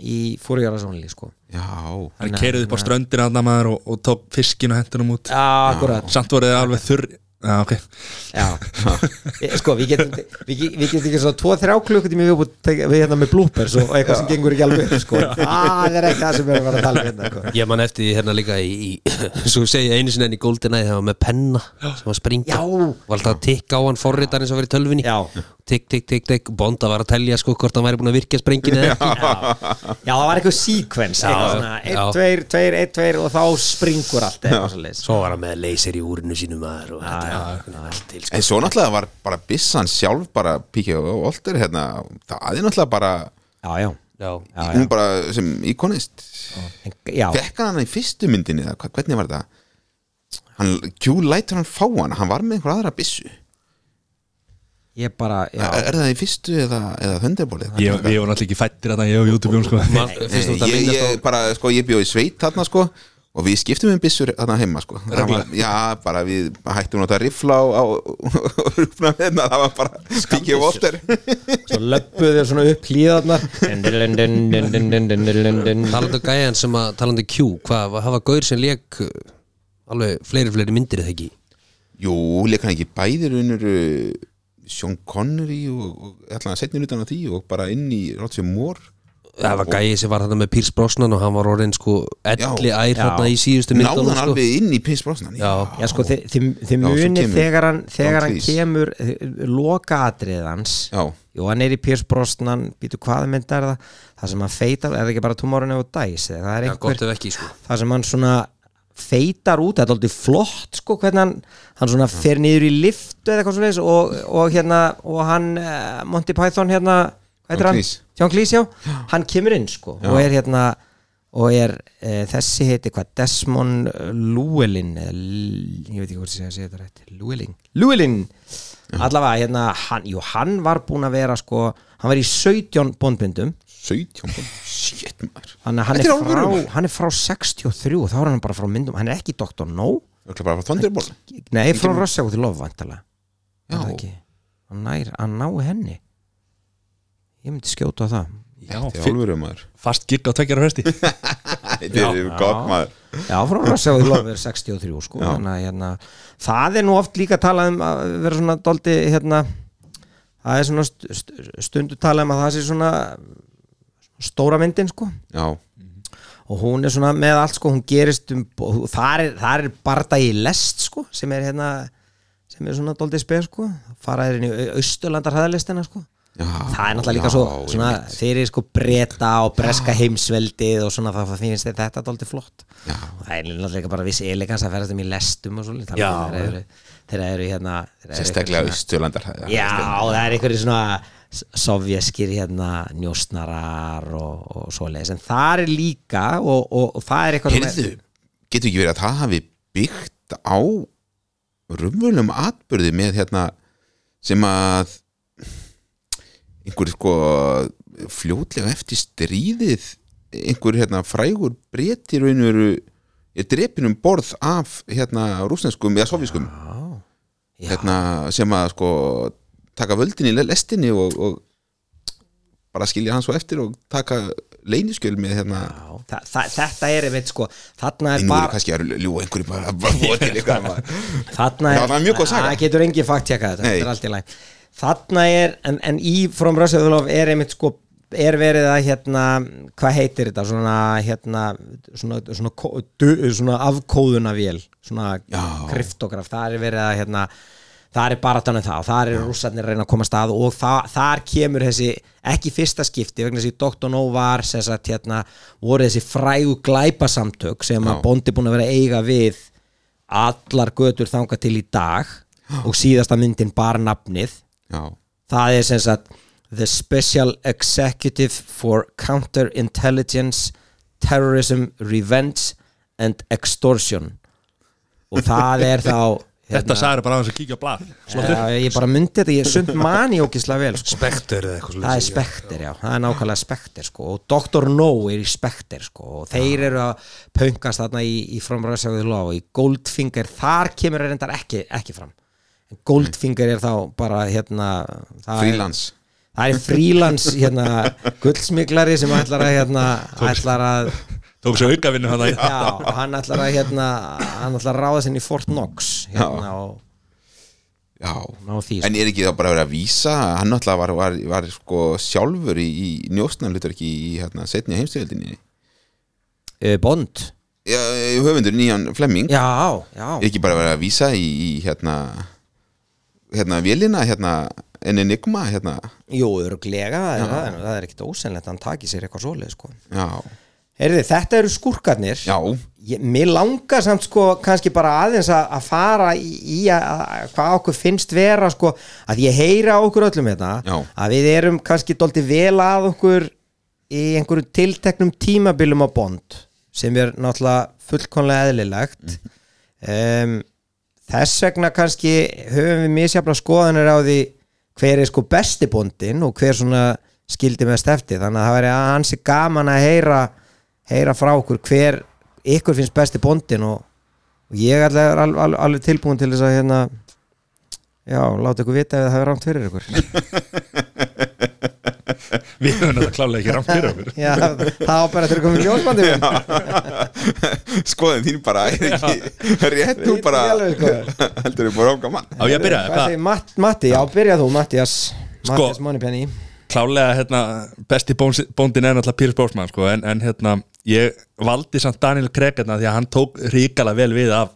í fórjöra sánli sko
Já,
Hann keirið upp á ströndina hann maður og, og tók fiskin og hendunum út
Já, akkurat
Samt voru þið alveg þurr Já, ok
Já. Eh, Sko, við getum, við, ge- við getum ekki svo 2-3 klukkutími við, búið, tek- við hérna með bloopers og og eitthvað sem gengur ekki alveg upp, sko. Það er ekki það sem við erum að fara að tala um hérna sko.
ég man eftir því hérna líka í, í svo segja einu sinni enn í GoldenEye það var með penna sem var að springa
Já.
var alltaf að tikka á hann forritar eins og verið tölvinni
Já.
tikk, tikk, tikk, tikk, bonda var að telja sko hvort hann væri búin að virkja sprenginu eða ekki
Já, það var eitthvað sequence eitthvað
Já.
svona,
Já.
1, 2, 2, 1, 2 og þá springur allt eitthvað svo leys
svo var hann með leysir í úrinu sínum maður og þetta var allt til sko.
En svo náttúrulega var bara Bissan sjálf bara píkja og older hérna, það er náttúrulega bara
Já, já,
já,
já, já.
hún bara sem íkonist
En, já.
fekk hann hann í fyrstu myndinni eða hva- hvernig var þetta hann, Q lætur hann fá hann, hann var með einhver aðra bissu
ég bara já.
er, er það í fyrstu eða, eða þöndirbólið
Ég, ég var náttúrulega ekki fættir að það ég og YouTube Jón sko
Man, fyrst þú
Eh, Ég,
þetta
ég,
minnast á
bara, sko, ég bjóði sveit þarna sko og við skiptum um byssur þarna heima sko Það
Regla.
var- já, bara við hættum nota rifla á, á rúfna hérna, það var bara Piki Walter
Svo löppuðu þér svona upp hlýðarnar
Talandu Mm. um gæjan sem að, talandu Q Hvað, hvað hafa gaur sem leik uh, alveg fleiri fleiri myndir eða ekki
jú, leik hann ekki bæðir unnur uh, Sean Connery og, og allan að setja utan á því og bara inn í Roger Moore
Það var gæi sem var þetta með Pírs Brosnan og hann var orðin sko elli ær hérna í síðustu
náði
myndunum
hann
sko.
alveg inn í Pins Brosnan
Já,
Já sko þið, þið, þið
Já, svo
munið
kemur
þegar hann, þegar
John
hann
Cleese.
kemur lokaatriðið hans
Já.
Jú, hann er í Pierce Brosnan, býtu hvaða mynd er það það sem hann feitar, er það ekki bara tómárun og dæs, eða það er
Já, gott
einhver
ef ekki sko
það sem hann svona feitar út, þetta er aldrei flott sko hvernig hann, hann svona fer niður í liftu eða eitthvað svo leis og, og hérna og hann, uh, Monty Python hérna, hvað
John
heitir hann?
Cleese.
John Cleese, já, hann kemur inn sko og er hérna og er e, þessi heiti hvað Desmond eh, Llewellyn eða L- ég veit ekki hvort ég segja, segja þetta rætt Llewellyn, Llewellyn allavega hérna, hann, jú, hann var búin að vera sko, hann var í 17 bondbindum
17 búin, shit maður
Þannig að hann
Þetta
er,
er
frá,
alvöru.
hann er frá 63 og þá er hann bara frá myndum, hann er ekki Dr. No
Það er bara Thunderbolt
Nei, frá Rossjá til Love vantalega
Já.
Hann nær að ná henni Ég myndi skjóta á það
Já,
Þetta er alvöru maður
fast gigg á tveggjara fresti
Þetta er gott maður
Já, frá Rossjá til Love er 63 sko, þannig að hérna, það er nú oft líka talað um að vera svona doldi hérna, það er svona st- st- stundu talað um að það sé svona stóra myndin sko
Já,
og hún er svona með allt sko hún gerist um, og þar er, þar er bardagi í lest sko sem er hérna sem er svona doldið speð sko faraðir inn í austurlandar hraðalistina sko
Já,
það er náttúrulega líka
já,
svo svona, þeir eru sko breyta og breska heimsveldið og svona það það finnst þeir þetta doldið flott já. og það er náttúrulega líka bara viss elegans að ferast um í lestum og svolítið
Já.
þeir eru, þeir eru hérna þeir eru
sérstaklega austurlandar það-
Já, það er einhverjir svona s- sovjeskir hérna njósnarar og, og svoleiðis en það er líka og, og, og það er eitthvað sem er-
Heyrðu, getur ekki verið að það hafi byggt á rumvöldum atbyrði með hérna sem að einhver sko fljótlega eftir stríðið einhver hérna frægur breytir raunur er drepin um borð af hérna rúsneskum eða sovjískum
Já.
hérna sem að sko taka völdin í le- lestinni og, og bara skilja hann svo eftir og taka leyniskjöl með hérna
Já, það, það, þetta er einmitt sko þarna er
En nú eru
bara
kannski að ljúa einhverju bara að búa til eitthvað maður.
þarna
Já, það er mjög góð saga.
Það getur engin fakt tjekka þetta,
Nei.
þetta er allt í læg Þarna er, en, en í From Russia with Love er einmitt sko er verið að hérna, hvað heitir þetta svona hérna svona, svona, ko- du- svona afkóðunavél svona kryptograf það er verið að hérna það er baratan um það og það er rússarnir að reyna að koma stað og það, þar kemur þessi ekki fyrsta skipti vegna þessi Dr. No var sem sagt hérna voru þessi frægu glæpasamtök sem að Bondi búin að vera að eiga við allar götur þanga til í dag og síðasta myndin bar nafnið
Já,
það er sem sagt The Special Executive for Counterintelligence Terrorism, Revenge and Extortion og það er þá hérna,
Þetta sagði bara aðeins að kíkja á blað
Já, ég bara myndi þetta, ég sund mani ógislega vel sko.
Spektur eða eitthvað
það er spekter, já, það er nákvæmlega spekter sko. og Dr. No er í spekter sko. og þeir eru að pöngast þarna í, í framræðsjáðu lof og í Goldfinger þar kemur er endar ekki, ekki fram En Goldfinger er þá bara hérna, það er-
frílans
það er frílans hérna, guldsmiklari sem ætlar að hérna, ætlar að
Tók svo aukavinnu hann að
já, og hann ætlar að hérna, hann ætlar að ráða sinni í Fort Knox hérna, og
Já,
ná því sko.
en er ekki þá bara að vera að vísa hann náttúrulega var, var, var sko sjálfur í, í njóstnarlutverki í hérna setni heimstöldinni
Eh, Bond
eh, höfundur nýjan Flemming
já, já,
er ekki bara að vera að vísa í, í hérna hérna vélina hérna en enigma hérna
Jú, örglega, það er, það er, það er ekkit ósennlegt að hann taki sér eitthvað svoleið sko.
Já,
Heyrði, þetta eru skúrkarnir
já,
Ég, Mér langar samt sko kannski bara aðeins að, að fara í, í að, að, hvað okkur finnst vera sko, að ég heyra á okkur öllum þetta
Já.
að við erum kannski dólti vel að okkur í einhverjum tilteknum tímabilum á bond sem er náttúrulega fullkonlega eðlilegt
Mhm.
um, þess vegna kannski höfum við misjafla skoðanir á því hver er sko besti bondin og hver svona skildi mest eftir þannig að það væri ansi gaman að heyra heyra frá okkur hver ykkur finnst besti bondin og, og ég alveg er alveg, alveg, alveg tilbúin til þess að hérna já, láta ykkur vita ef það hefur rámt fyrir ykkur
Við höfum þetta klálega ekki rámt fyrir okkur
já, það á bara til að koma í ljósbandi minn.
skoðin þín bara er ekki rétt þú
Veit
bara
ekki alveg, sko.
heldur þú bara ánga mann
Á ég að byrja,
Hvað
hvað?
segir Matt, Matti, já, byrja þú, Mattias
Sko.
Mattias Moneypenny
Klálega, hérna, besti bóns- bóndin er náttúrulega Pírs Bósmann, sko, en, en hérna ég valdi samt Daniel Craig hérna því að hann tók ríkala vel við af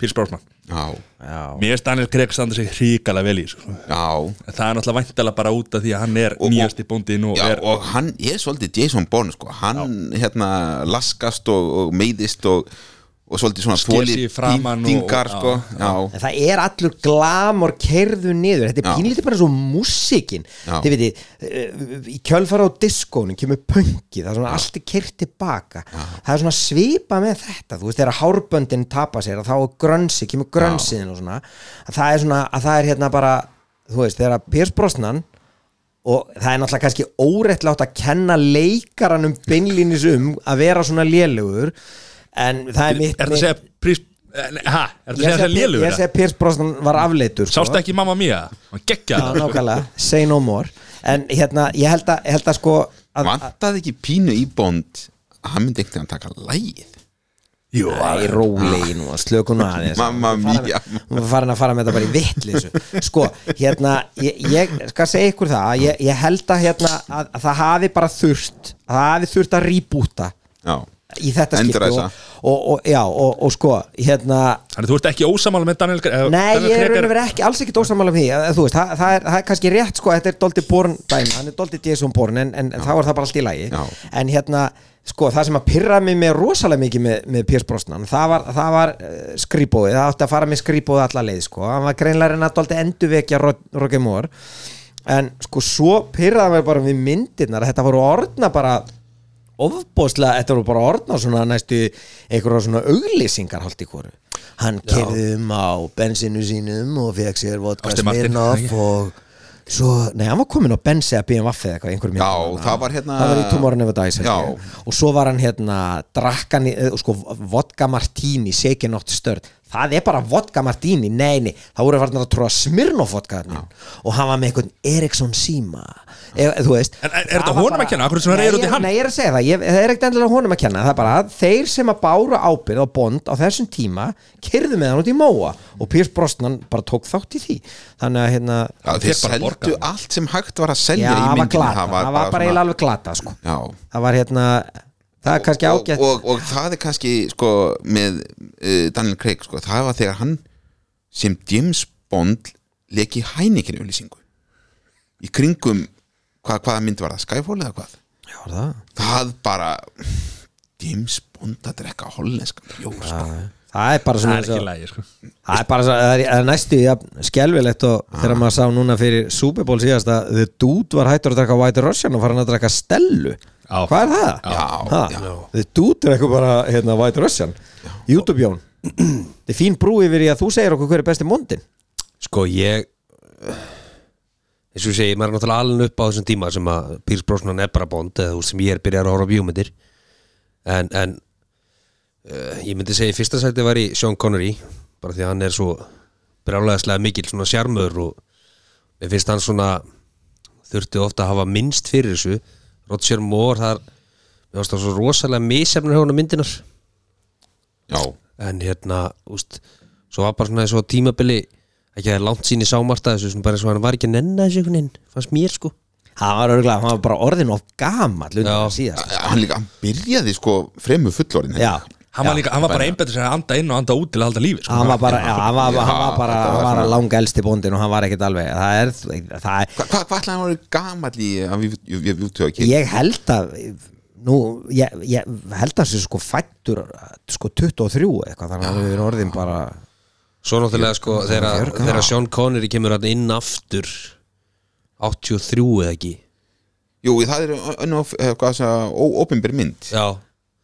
Pírs Bósmann.
já,
já,
Mér finnst Daniel Craig standa sig ríkala vel í, sko.
já
En það er náttúrulega væntalega bara út af því að hann er
Og- og-
nýjasti bóndin og
Já,
er
og hann er svolítið Jason Bourne sko. hann hérna laskast og, og meiðist og, og svolítið svona
Sker sig
þolir
í framan og-
pyntingar,
já,
sko. já,
En það er allur glamor kerðu niður, þetta
Já.
er pínlítið bara svo músikin,
Já.
þið veitir eh, í kjölfara á diskónum kemur pönki, það er svona allt er kert tilbaka það er svona svipa með þetta þú veist, þegar hárböndin tapa sér að þá er grönsi, kemur grönsiðin og svona að það er svona, að það er hérna bara þú veist, þegar Piers Brosnan og það er náttúrulega kannski óréttlátt að kenna leikaranum beinlínis um að vera svona lélugur en það er
Er
mitt
þetta að segja Pírs Hæ? Er þetta að segja það lélugur?
Ég segi að Pierce Brosnan var afleitur sko.
Sástu ekki Mamma Mia? Hann geggja
Já, nákvæmlega, say no more En hérna, ég held að, ég held að sko að,
vantaði ekki pínu í Bond að hann myndi einhvern veginn taka lægið
Jú,
Æ, rólegi nú, slöku nú aðeins
Mamma
Hún var farin-
mia.
Hún var farin að fara með þetta bara í vittleysu Sko, hérna, ég, ég skal segja ykkur það Ég, ég held að, hérna, að, að það hafi bara þurft að Það hafi þurft að rýbúta
já,
í þetta skipti
Endurræsa.
og, og, og, já, og, og sko, hérna
Þannig þú ert ekki ósamála með Daniel Craig eh,
Nei,
Daniel
ég er
Craig
raun og verið ekki, alls ekki dósamála um því að, að, þú veist, það, það, er, það er kannski rétt sko, þetta er Doldi Born dæmi, hann er Doldi Jason Born en, en þá er það bara allt í lagi
Já.
en hérna, sko, það sem að pyrra mig með rosalega mikið með, með Piers Brosnan það var, það var uh, skrýbóði, það átti að fara með skrýbóði alla leið, sko, hann var greinlega en að Doldi endurvekja Ro- Roger Moore en sko, svo pyrraði mig bara við myndirnar, þetta voru orðna bara ofbóðslega, þetta voru bara orðna svona næstu einhverja svona auglýsingar hálft í hverju hann kerði um á bensinu sínum og fekk sér vodka
Ástin Martin.
Smirnoff og svo, nei, hann var komin á bensi að BMF eða eitthvað, einhverjum
Já, það var hérna-
það var í Tomorrow Never Dies held
Já.
ég. og svo var hann hérna drakkan, sko, vodka martini shaken not stirred, það er bara vodka martini, nei, nei, það voru farnar að tróða Smirnoff vodka þarna. og hann var með einhvern Eriksson Sima e, þú veist
En- en er
það
þetta
var
honum
bara-
að kenna? Af hverju svona
Nei,
reiður út í
ég-
hann?
Nei, ég er að segja það, ég, það er ekkert endilega honum að kenna það er bara að þeir sem að báru ábyrð á bond á þessum tíma, kyrðu með hann út í móa og Piers Brosnan bara tók þátt í því þannig að hérna
já
Hann
þeir
fékk bara borgað.
seldu allt sem hægt var að
já,
selja í
það var
myndinu
glata, það var bara eiginlega alveg glata sko.
já
það var hérna, það er kannski
og,
ágætt
og, og það er kannski sko, með uh, Daniel Craig sko, það var þegar hann sem James Bond leki hæninginu auðlýsingu í kringum hvað, hvaða mynd var það, Skyfall eða hvað
já, það,
það bara James Bond að drekka hollenskan bjór sko.
það er bara
Það
svona
er
eins og-
ekki lægi, sko
Það er bara svo, það er- það er næstu ja, skelvilegt og þegar maður sá núna fyrir Super Bowl síðast að The Dude var hættur að drakka White Russian og fara hann að drakka Stellu
Já.
Hvað er það?
Já,
ha,
já.
The Dude er eitthvað bara hérna, White Russian YouTube Jón Þetta er fín brú yfir í að þú segir okkur hver er besti mondin
Sko ég eins og ég segi, maður er náttúrulega alveg upp á þessum tíma sem að Pírs Brosnan er bara bond eða þú veist, sem ég er byrjar að horfa á bjómyndir en, en uh, ég myndi segja í fyrsta sæti var í Sean Connery bara því að hann er svo brálaðislega mikil svona sjarmur og mér finnst hann svona þurfti ofta að hafa minnst fyrir þessu Roger Moore þar mér finnst það svo rosalega misjafnir hjóna myndinar
já,
en hérna, úst svo var bara svona þessu tímabili ekki að það er langt sín í sámarta þessu svona bara svo hann var ekki að nenna þessu einhvern veginn, fannst mér sko
Það var örgulega, hann var bara orðin of gamall undan síðast
hann líka, hann byrjaði sko fremur fullorinn
Já,
Hann var líka, hann var bara einbættur sem að anda inn og anda út til að halda lífi, sko
hann var bara, já, hann var, hann var bara,
þetta var
hann var
svona-
langa elsti bóndin og hann var ekkert alveg Það er, það er,
Hva- hvað hva ætlaði hann að vera gamall í að við vjútu að kynna
ég held að nú, ég, ég held að þessi sko fættur sko 23 eitthvað þannig að við erum orðin bara
svo náttúrulega sko þegar þegar Sean Connery kemur hann inn aftur 83 eða ekki
jú, það er önnum ópenbyr mynd
já,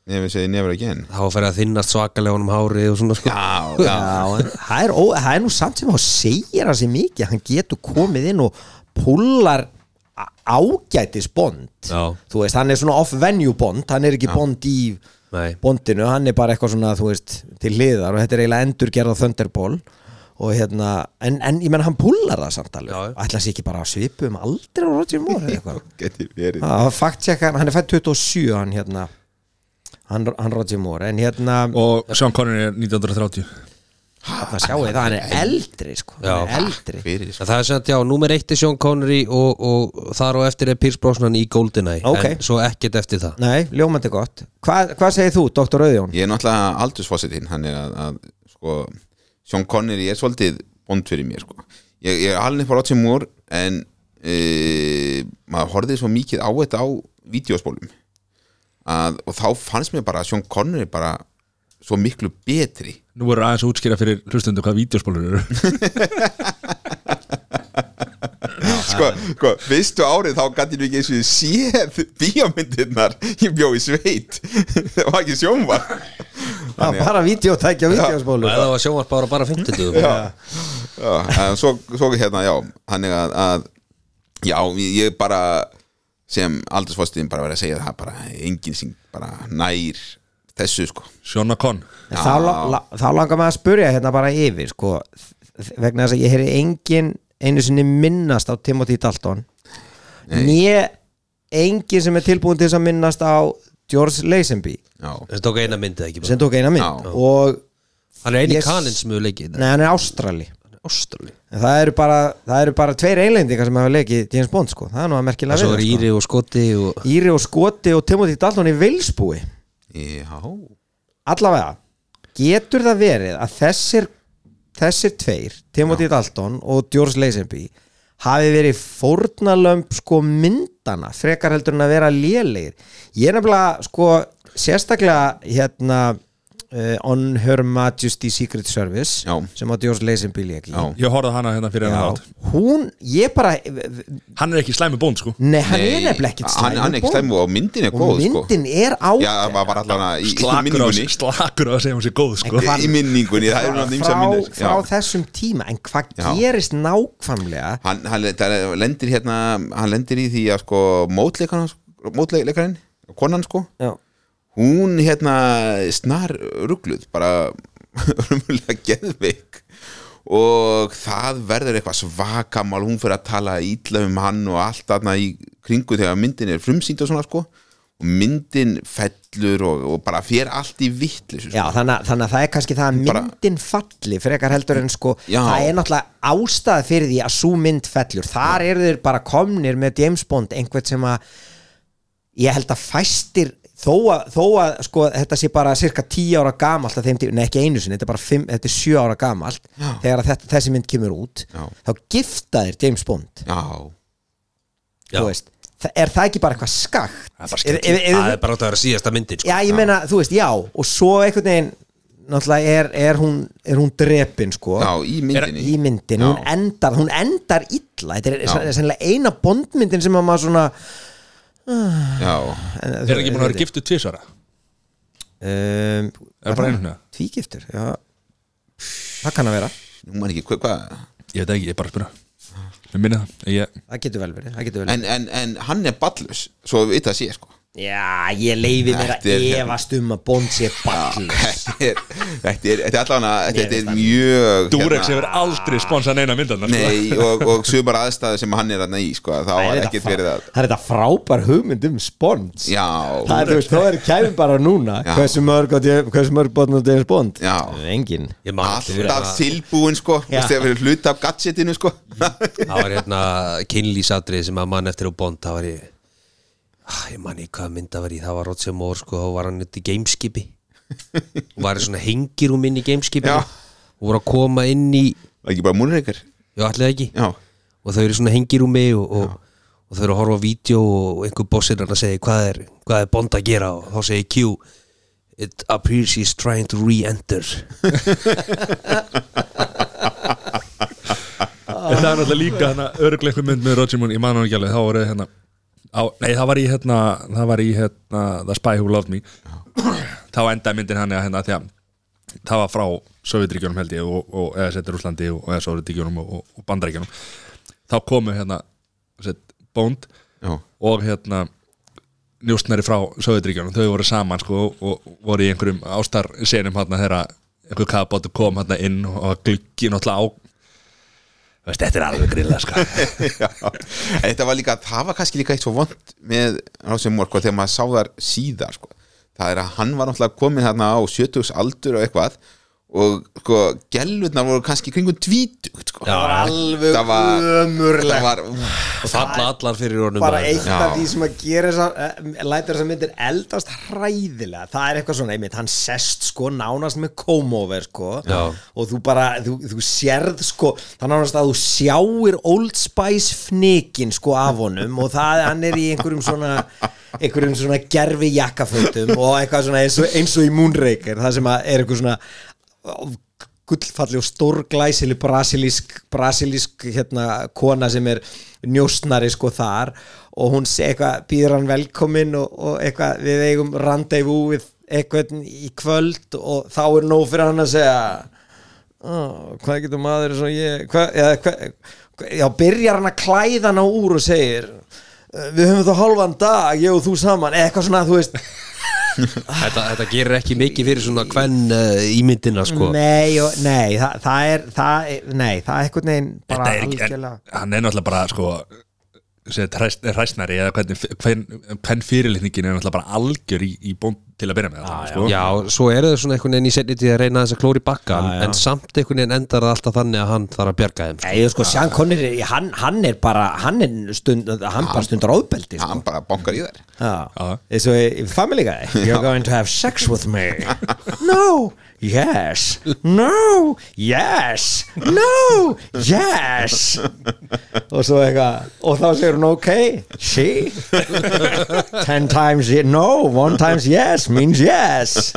ef við segja nefnir ekki enn
þá var fyrir að þinnast svakalega honum hárið og svona sko
já,
já, en það er, ó, það er nú samt sem þá segir hann sér mikið hann getur komið inn og púlar ágætis bond
Já.
þú veist, hann er svona off-venue bond hann er ekki bond í
Nei.
bondinu, hann er bara eitthvað svona þú veist, til hliðar og þetta er eiginlega endurgerð á Thunderball og hérna en, en ég menn hann púlar það samt
Já, já.
alveg ætla sé ekki bara að svipu um aldrei á Roger Moore eða eitthvað
geti verið
það var faktjekka, hann er fætt 27 hann hérna hann, hann Roger Moore, en hérna
og Sean Connery er 1930
það sjáu það, hann er eldri sko,
Já.
hann er eldri
fyrir sko.
En það er sem að já, númer eitt er Sean Connery og, og þar og eftir er Pierce Brosnan í Goldeneye
Ok.
en svo ekkert eftir það
Nei, ljómandi gott Hva, Hvað segir þú, Dr. Auðjón?
ég er náttúrulega aldursfossitin hann er að, að sko, Sean Connery er svolítið bond fyrir mér sko. ég, ég er alveg upp á Roger Moore en e, maður horfið svo mikið á þetta á vídeospólum að, og þá fannst mér bara að Sean Connery bara svo miklu betri
Nú voru aðeins að útskýra fyrir hlustundu hvað vídeospólur eru
sko, sko, fyrstu árið þá gæti ég nú ekki eins og ég séð bíómyndirnar, ég bjó í sveit það var ekki sjónvar
Já,
Þannig að-
bara videotækja og
Og
videospólu
ef það var sjónvarp bara bara 50 já.
já, en svo, svo hérna, já þannig að, að já, ég bara sem aldursfostiðin bara verið að segja það bara enginn sem bara nær þessu sko
Sean Conn
En þá, la- la, þá langar maður að spurja hérna bara yfir sko, þ- vegna þess að ég heyri engin einu sinni minnast á Timothy Dalton né engin sem er tilbúin til þess að minnast á George Lazenby
já,
Það tók eina myndið ekki
sem
bara
tók eina mynd
Já.
og
Hann er eini
Yes.
yes. kaninn sem hefur leikið
nei, hann er ástrali
Ástrali
en það eru bara, það eru bara tveir einlendingar sem hafa lekið James Bond sko, það er nú að merkilega
Og svo er
við það,
Íri og Skoti og
sko. Íri og Skoti og Timothy Dalton í Vilsbúi
já,
allavega getur það verið að þessir þessir tveir, Timothy Dalton og George Lazenby hafi verið fórnalömb sko myndana frekar heldur en að vera lélegir ég er nefnilega sko sérstaklega hérna uh, On Her Majesty Secret Service
Já.
sem að George Lazenby lék í
Já.
Ég horfði á hana hérna fyrir hann
Já.
átt
hún, ég bara
Hann er ekki slæmi bónd sko
nei, hann er
Nei,
nefnilega ekkert
hann, hann er ekki slæmi og myndin er
og
góð
myndin er á
sko já, það var bara allan að í, í
Slakur á,
minningunni
slakur á að segja hún sé góð sko
í minningunni, það er
frá,
náttúrulega ymsa minnir
frá þessum tíma en hvað
Já.
gerist nákvæmlega
hann, hann það lendir hérna hann lendir í því að sko mótleikarinn mótleikarinn, konan sko
Já.
hún hérna snar ruggluð bara rumulega geðveik og það verður eitthvað svakamál hún fyrir að tala ítla um hann og allt þarna í kringu þegar myndin er frumsýnd og svona sko og myndin fellur og, og bara fer allt í sko. vittlis
Já, þannig, að- þannig að það er kannski það að
Bara-
myndin falli frekar heldur en sko
Já.
það er náttúrulega ástæða fyrir því að svo mynd fellur þar eru þeir bara komnir með James Bond einhvern sem að ég held að fæstir þó að, þó að sko, þetta sé bara cirka 10 ára gamalt að þeim tíma, nei ekki einu sinni þetta er bara 5, þetta er 7 ára gamalt Já. þegar að þetta, þessi mynd kemur út
Já.
þá gifta þeir James Bond
já,
þú veist, Þa- er það ekki bara eitthvað skakt
Það er bara
Er-
skemmtilegt.
er- er-
Það er bara átt að vera síðasta myndin sko.
Já, ég meina, þú veist, já og svo einhvern veginn náttúrulega er, er, hún, er hún drepin sko
já, í myndinni
í myndin,
Já.
hún endar, hún endar illa, þetta er
Já.
sen- sennilega eina bondmyndin sem að maður svona
já,
Er ekki búin að vera giftu tvisvara?
um,
Er bara einu hérna?
Tvígiftur, já Það kann að vera,
nú maður ekki, hvað hva?
Ég veit ekki, ég er bara að spyrja Ég minni það ég,
það getur vel verið, það getur vel verið.
en, en, en hann er ballus svo við það sé sko
Já, ég leifi mér að
Þetta er- hérna-
efast um að bond sé ballur
þetta er, þetta er, þetta er allan að þetta þetta er mjög hérna,
Durex hefur aldrei sponsað neina myndan
Nei, og, og sumar aðstæðu sem hann er að nei, sko, þá
Það
var
er
ekkert
þetta
verið
frá-
að
það er þetta frábær hugmynd um spons
Já,
Það er, þú veist, þá er kæfum bara núna
Já.
Hversu mörg, á James- hversu mörg botn og James Bond
Já.
Engin
Ég man ekki fyrir
alltaf
að-
tilbúin, sko
Já. Mm.
Vist þegar verið hluta af gadgetinu, sko
Það var hérna kynlísatrið sem að mann eftir og bond Það var ég ah, Ég man ekki hvað mynda var í Það var Roger Moore sko Þá var hann upp í gameskipi Og var í svona hengirúm inn í gameskipi
Já.
Og voru að koma inn í
Var ekki bara múnreikar
Já, allir það ekki
Já,
og þau eru í svona hengirúmi og, og, og þau eru að horfa á vídeo og einhver bossir hann að segja hvað er, hvað er Bond að gera og þá segir Q It appears he's trying to re-enter
En það er náttúrulega líka hérna örglega einhver mynd með Roger Moore, ég man hann ekki alveg, þá voru hérna á, nei það var í hérna, það var í hérna The Spy Who Loved Me þá endaði myndin hann eða hérna því að það var frá Sovjetríkjunum held ég og, og eða settir Úslandi og, og eða Sovjetríkjunum og, og Bandaríkjunum þá komu hérna sett, Bond
já,
og hérna njóstnari frá Söðuríkjónum, þau voru saman sko og og voru í einhverjum ástarsenum hann þegar einhver kaðbátur kom hann inn og gluggi náttúrulega á Þú veist, þetta er alveg grilla sko
Já, en þetta var líka, það var kannski líka eitt svo vond með Rossi Mór, sko, þegar maður sá þar síðar, sko, það er að hann var náttúrulega komin þarna á 70 aldur og eitthvað og sko, gelvurnar voru kannski kringum tvítugt, sko
Já,
alveg
það var, það
ömurlegt
var
og falla allar fyrir honum
bara
maður.
eitt
Já.
af því sem að gera þessar, eh, lætur þessar myndir eldast hræðilega það er eitthvað svona, einmitt, hann sest sko nánast með komover sko
Já.
og þú bara, þú, þú sérð sko það nánast að þú sjáir Old Spice fnikin sko af honum og það, hann er í einhverjum svona einhverjum svona gerfi jakkafötum og eitthvað svona eins og, eins og í Moonraker það sem að er eitthvað svona gullfalli og stórglæsileg brasilísk, brasilísk hérna, kona sem er njósnari sko þar og hún se- eitthvað býður hann velkomin og, og eitthvað við eigum randevu við eitthvað í kvöld og þá er nóg fyrir hann að segja oh, hvað getur maður svo ég hvað, já, hvað, já, byrjar hann að klæða hann á úr og segir "Eh, við höfum þá hálfan dag, ég og þú saman eitthvað svona, þú veist
þetta, þetta gerir ekki mikið fyrir svona hvern uh, ímyndina sko
Nei, og, nei, það, það er það, er- nei, það er eitthvað neginn bara
Þetta er ekki, en,
algjörlega
hann er náttúrulega bara sko hræsnari eða hvernig hvern, hvern fyrirlitningin er náttúrulega bara algjör í, í bónd til að byrja með þetta sko.
já, svo eru þau svona einhvern veginn í setni til að reyna þess að klóri bakka en, en samt einhvern veginn endar það alltaf þannig að hann þarf að bjarga þeim sko.
Nei, ég sko, Sean Connery, hann, hann er bara hann er stund, hann bara stundur áðbeldi sko.
hann bara bankar í þær
Já, eins og í- í Family Guy You're going to have sex with me No, yes No, yes No, yes Og svo eitthvað Og þá segir hún ok, she Ten times ye- no One times yes means yes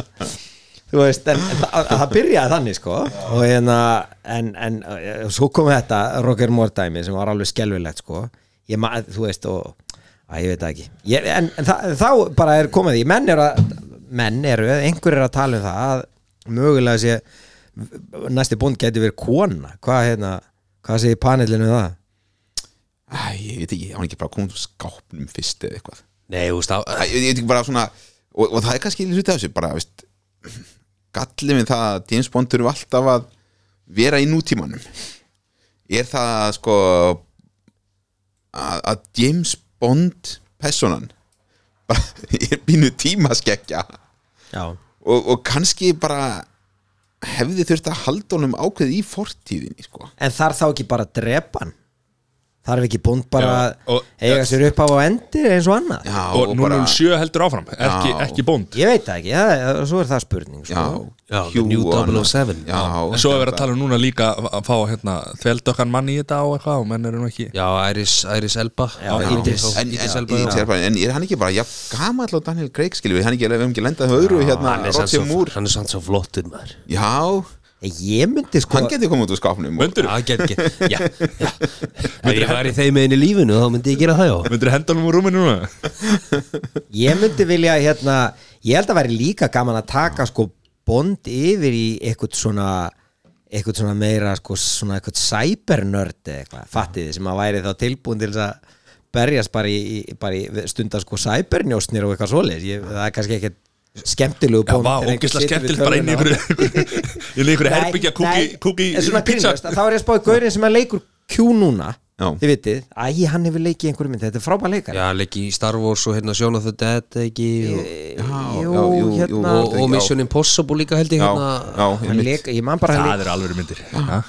Þú veist, en en það það byrjaði þannig sko og hérna, en, en eh, svo kom þetta Roger Moore dæmi sem var alveg skelfilegt sko ég maður, þú veist, og að ég veit það ekki ég, en, en það, þá bara er komið því menn eru, að, menn eru, einhver er að tala um það að mögulega sé næsti bónd geti verið kona hvað hérna, hvað segir panelinu um það?
Æ, ég veit ekki, hann ekki bara komið úr skápnum fyrst eða eitthvað
nei, þú
Æ,
veist, það
ég, ég veit ekki bara svona og, og það er kannski hluti af þessu bara, veist, gallið við það að James Bond eru alltaf að vera í nútímanum er það sko að, að James Bond personan bara, er bínu tímaskekkja
Já,
og, og kannski bara hefði þurft að halda honum ákveð í fortíðinni sko.
en þarf þá ekki bara að drepa hann? þarf ekki bónd bara
Já,
að
og-
eiga sér upp á á endi eins og annað?
já,
og, um og
bara,
007 heldur áfram ekki,
Já.
ekki bónd
Ég veit það ekki, ja, svo er það spurning sko.
já,
Já,
Hugh
New
og annað.
007.
já,
En svo er verið að tala um núna líka að að fá hérna, þveldökkan mann í þetta og eitthvað og menn eru nú ekki
já, Iris, Iris Elba
Já,
Já,
Idris.
en,
þá-
en,
um Idris
í-
Elba já.
Idris Elba, en er hann ekki bara ja, gamall og Daniel Craig skilur við hann ekki, við hefum ekki lendað öðru hérna,
hann er samt
Roger
svo-
Moore
hann er sann svo flottur maður
já,
Ég myndi sko
hann getur komið út úr skápnum og-
Möndur,
Já, gerð ekki Já, já Ef ég var í þeim einu lífinu þá myndi ég gera það já
möndur hendunum úr rúminu núna
Ég myndi vilja hérna Ég held að væri líka gaman að taka sko Bond yfir í eitthvað svona eitthvað svona meira sko svona eitthvað cybernörd eða eitthvað fattið þið sem að væri þá tilbúin til þess að berjast bara í, í, bara í stundar sko cybernjósnir og eitthvað svoleiðis ég, það er kannski ekkert skemmtilegu
Já, vá, ógislega skemmtilegt bara inn í einhverju inn í einhverju herbyggja kúki, kúki
svona
pizza
grínast, að þá er ég að spáði gaurinn sem að leikur Q núna,
Já.
þið vitið æ, hann hefur leikið í einhverju mynd, þetta er frábæð leikari
Já, leiki í Star Wars og hérna Sjóna the Dead ekki og,
já,
Eh, jú,
já, jú, jú,
hérna
og, og Mission Impossible líka held ég
já,
hérna
já,
hann
einmitt.
leik, ég man bara hann
Það
leik,
eru alveg myndir ha?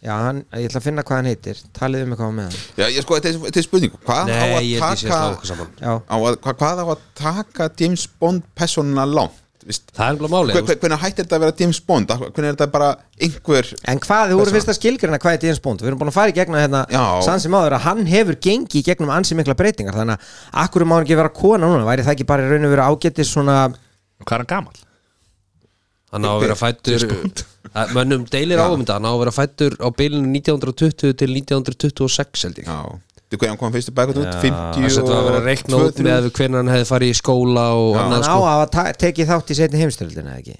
já, hann, ég ætla að finna hvað hann heitir talið um eitthvað með hann
já, ég sko, þetta er- þetta er spurning hvað á
Nei, ég
að
held ég sé að slá okkur
taka
saman
já,
á að, hvað, hvað á að taka James Bond personuna langt veist,
Það er alveg málið
hver, hvernig hættir þetta að vera James Bond Af- hvernig er þetta bara einhver
en hvað, þú voru fyrst að skilgrina hvað er James Bond við erum búin að fara í gegna hérna
Já.
sann sem áður að hann hefur gengi í gegnum ansi mikla breytingar þannig að akkur má hann ekki vera kona núna væri það ekki bara í raun og vera ágætis svona
Hvað er hann gamall?
Hann á að vera fættur að Mönnum deilir áum þetta Hann á að vera fættur á bilinu 1920 til 1926 held ég
já, þú hvernig hann kom fyrstu bækut út 50
Þess að þetta var að vera að reikna út með hvernig hann hefði farið í skóla og
hann
annað
á
sko
að ta- tekið þátt í setni heimstöldina ekki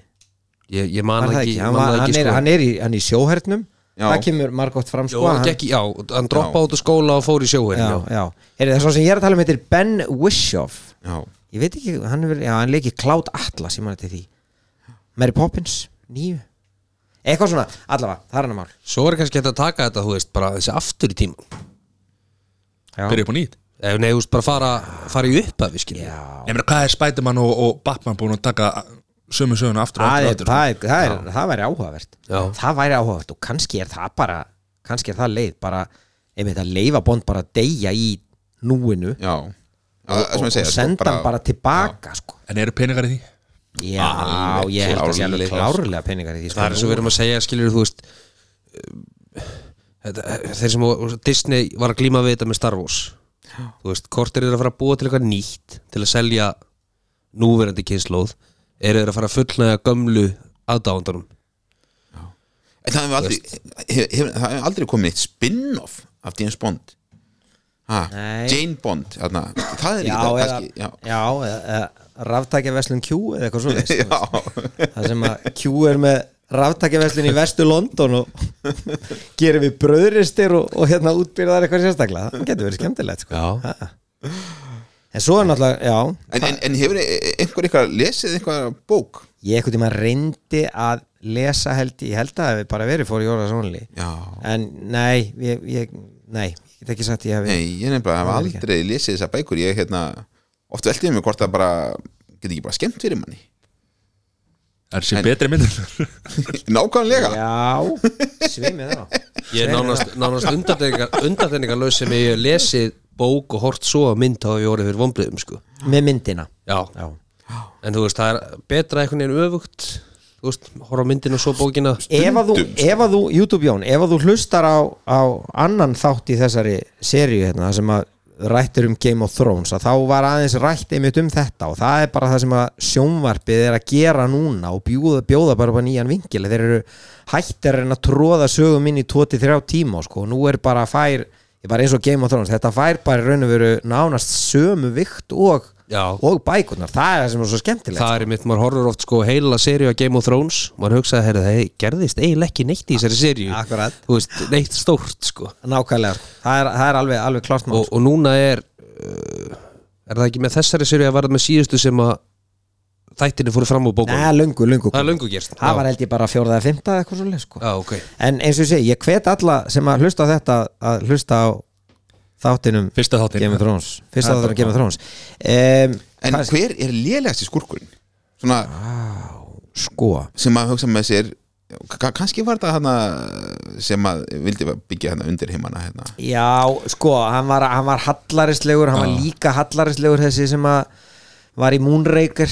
Ég, ég man
Var
það
það
ekki,
ekki?
man
Hann,
það
var,
ekki
hann, er,
sko.
hann er í, hann í sjóhernum
Já.
það kemur margótt fram
Jó,
sko,
hann
hann,
gekk í- já, hann droppa út úr skóla og fór í sjóin
já, já. Er það svo sem ég er að tala um heitir Ben Wishoff
já,
ég veit ekki, hann hefur, já, hann leikir Cloud Atlas, ég maður til því Mary Poppins, nýju eitthvað svona, allavega, það er hann að mál
Svo er kannski hægt að taka þetta, þú veist, bara þessi aftur í tíma
já,
byrja upp á nýtt
Ef nei, þú veist, bara fara, fara í upphafi, skiljum
já.
Ég meina, hvað er Spiderman og, og Batman búin að taka sömu söguna aftur og
Það, er,
aftur, og aftur?
það, er, það, er, það væri áhugavert
Já.
það væri áhugavert og kannski er það bara kannski er það leið bara einmitt að leifa bond bara að deyja í núinu
já Það er sem
og,
ég segi,
og
sko,
senda hann bara tilbaka sko.
En eru peningar í því?
já, ég held að sé Ah, alveg
klárlega, sko.
klárlega peningar í því
það er eins og við erum að segja skilur þú veist eh, þetta, þeir sem voru- Disney var að glíma við þetta með Star Wars þú veist, hvort eru þeir að fara að búa til eitthvað nýtt til að selja núverandi kynnslóð eru þeir að fara að fullnæga gömlu aðdáðandunum
En það hefur aldrei, hef, hef, það hefur aldrei komið eitt spin-off af James Bond ha,
Nei.
Jane Bond þarna, það
já,
er ekki það
eða,
kannski,
já. eða, eða ráftækjaverslun Q eða eitthvað svo veist
já, já.
það sem að Q er með ráftækjaverslun í vestu London og gerir við bröðristir og, og hérna útbyrðar eitthvað sérstaklega það getur verið skemmtilegt sko.
Já.
Ha. en svo er náttúrulega, já
En, en, en hefur e- einhver eitthvað lesið einhver bók
ég eitthvað tíma reyndi að lesa held ég, ég held að það hefði bara verið fór í orða sónli
Já.
en nei ég, ég, nei, ég get ekki sagt ég hefði
Nei, ég nefnilega hef
Það er ekki.
aldrei lesið þessar bækur Ég hérna, oft veltið mig hvort það bara Get ekki bara skemmt fyrir manni
Er sé betri myndir?
Nákvæmlega
já, svimið þá
ég er nánast, nánast undartegningar laus sem ég hef lesið bók og hort svo að mynd hafa ég orðið fyrir vombriðum sko.
með myndina
já.
já,
en þú veist, það er betra einhvern veginn öfugt þú veist, horfa á myndina og svo bókina
ef að þú,
Stundum,
ef að þú YouTube Jón, ef að þú hlustar á, á annan þátt í þessari seríu hérna, það sem að rættir um Game of Thrones að þá var aðeins rætt einmitt um þetta og það er bara það sem að sjónvarpið er að gera núna og bjóða, bjóða bara upp á nýjan vinkil þeir eru hættir en að tróða sögum inn í 23 tíma sko. og nú er bara fær, ég bara eins og Game of Thrones þetta fær bara í raun og veru nánast sömu vikt og,
Já.
og bækurnar, það er það sem er svo skemmtilegt
það er mitt, maður horfur oft sko heila serið á Game of Thrones, maður hugsaði herri, það gerðist eiginlega ekki neitt í þessari serið
Akkurat.
þú veist, neitt stórt sko
nákvæmlega, sko. það er, það er alveg, alveg klart mál sko.
og, og núna er uh, er það ekki með þessari serið að verða með síðustu sem að þættinni fóru fram úr bókunum
Nei, löngu, löngu
það er
komið.
löngu gerst
Það var
já,
held ég bara fjórða eða fymta eitthvað svo leið sko.
já, ok
En eins og ég segi, ég hvet alla sem að hlusta á þetta að hlusta á þáttinum
Fyrsta þáttinn.
Game of Thrones Fyrsta
Það er
þáttinum Game of Thrones um,
En
hvað-
hver er lélegasti skurkurinn? Svona
Sko,
sem maður hugsa með sér ka- kannski var það hana sem að vildi byggja hana undir heimana hérna.
já, sko hann var, hann var hallarislegur, hann var líka hallarislegur þessi sem að var í Moonraker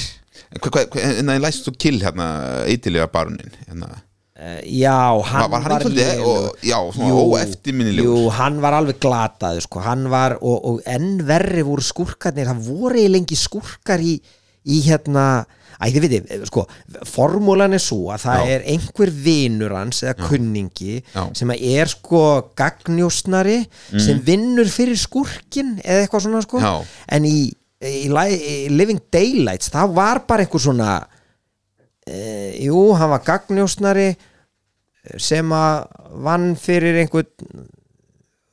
En hvað, hvað, hva, en það læst þú kill hérna eitilega barunin hérna.
Eh, Já, hann
Var- var hann ekki svolítið-
lélegur.
og- já, svona óeftirminnilegur?
Jú, hann var alveg glataður sko. hann var, og, og enn verri voru skúrkarnir, hann voru eiginlega lengi skúrkar í, í hérna Æ, þið veitir, eh, sko, formúlan er svo að það
Já.
er einhver vinur hans eða kunningi
Já. Mm.
sem að er sko gagnjósnari sem vinnur fyrir skúrkin eða eitthvað svona sko
Já.
en í, í, Li- í Living Daylights það var bara einhver svona e, jú, hann var gagnjósnari sem að vann fyrir einhvern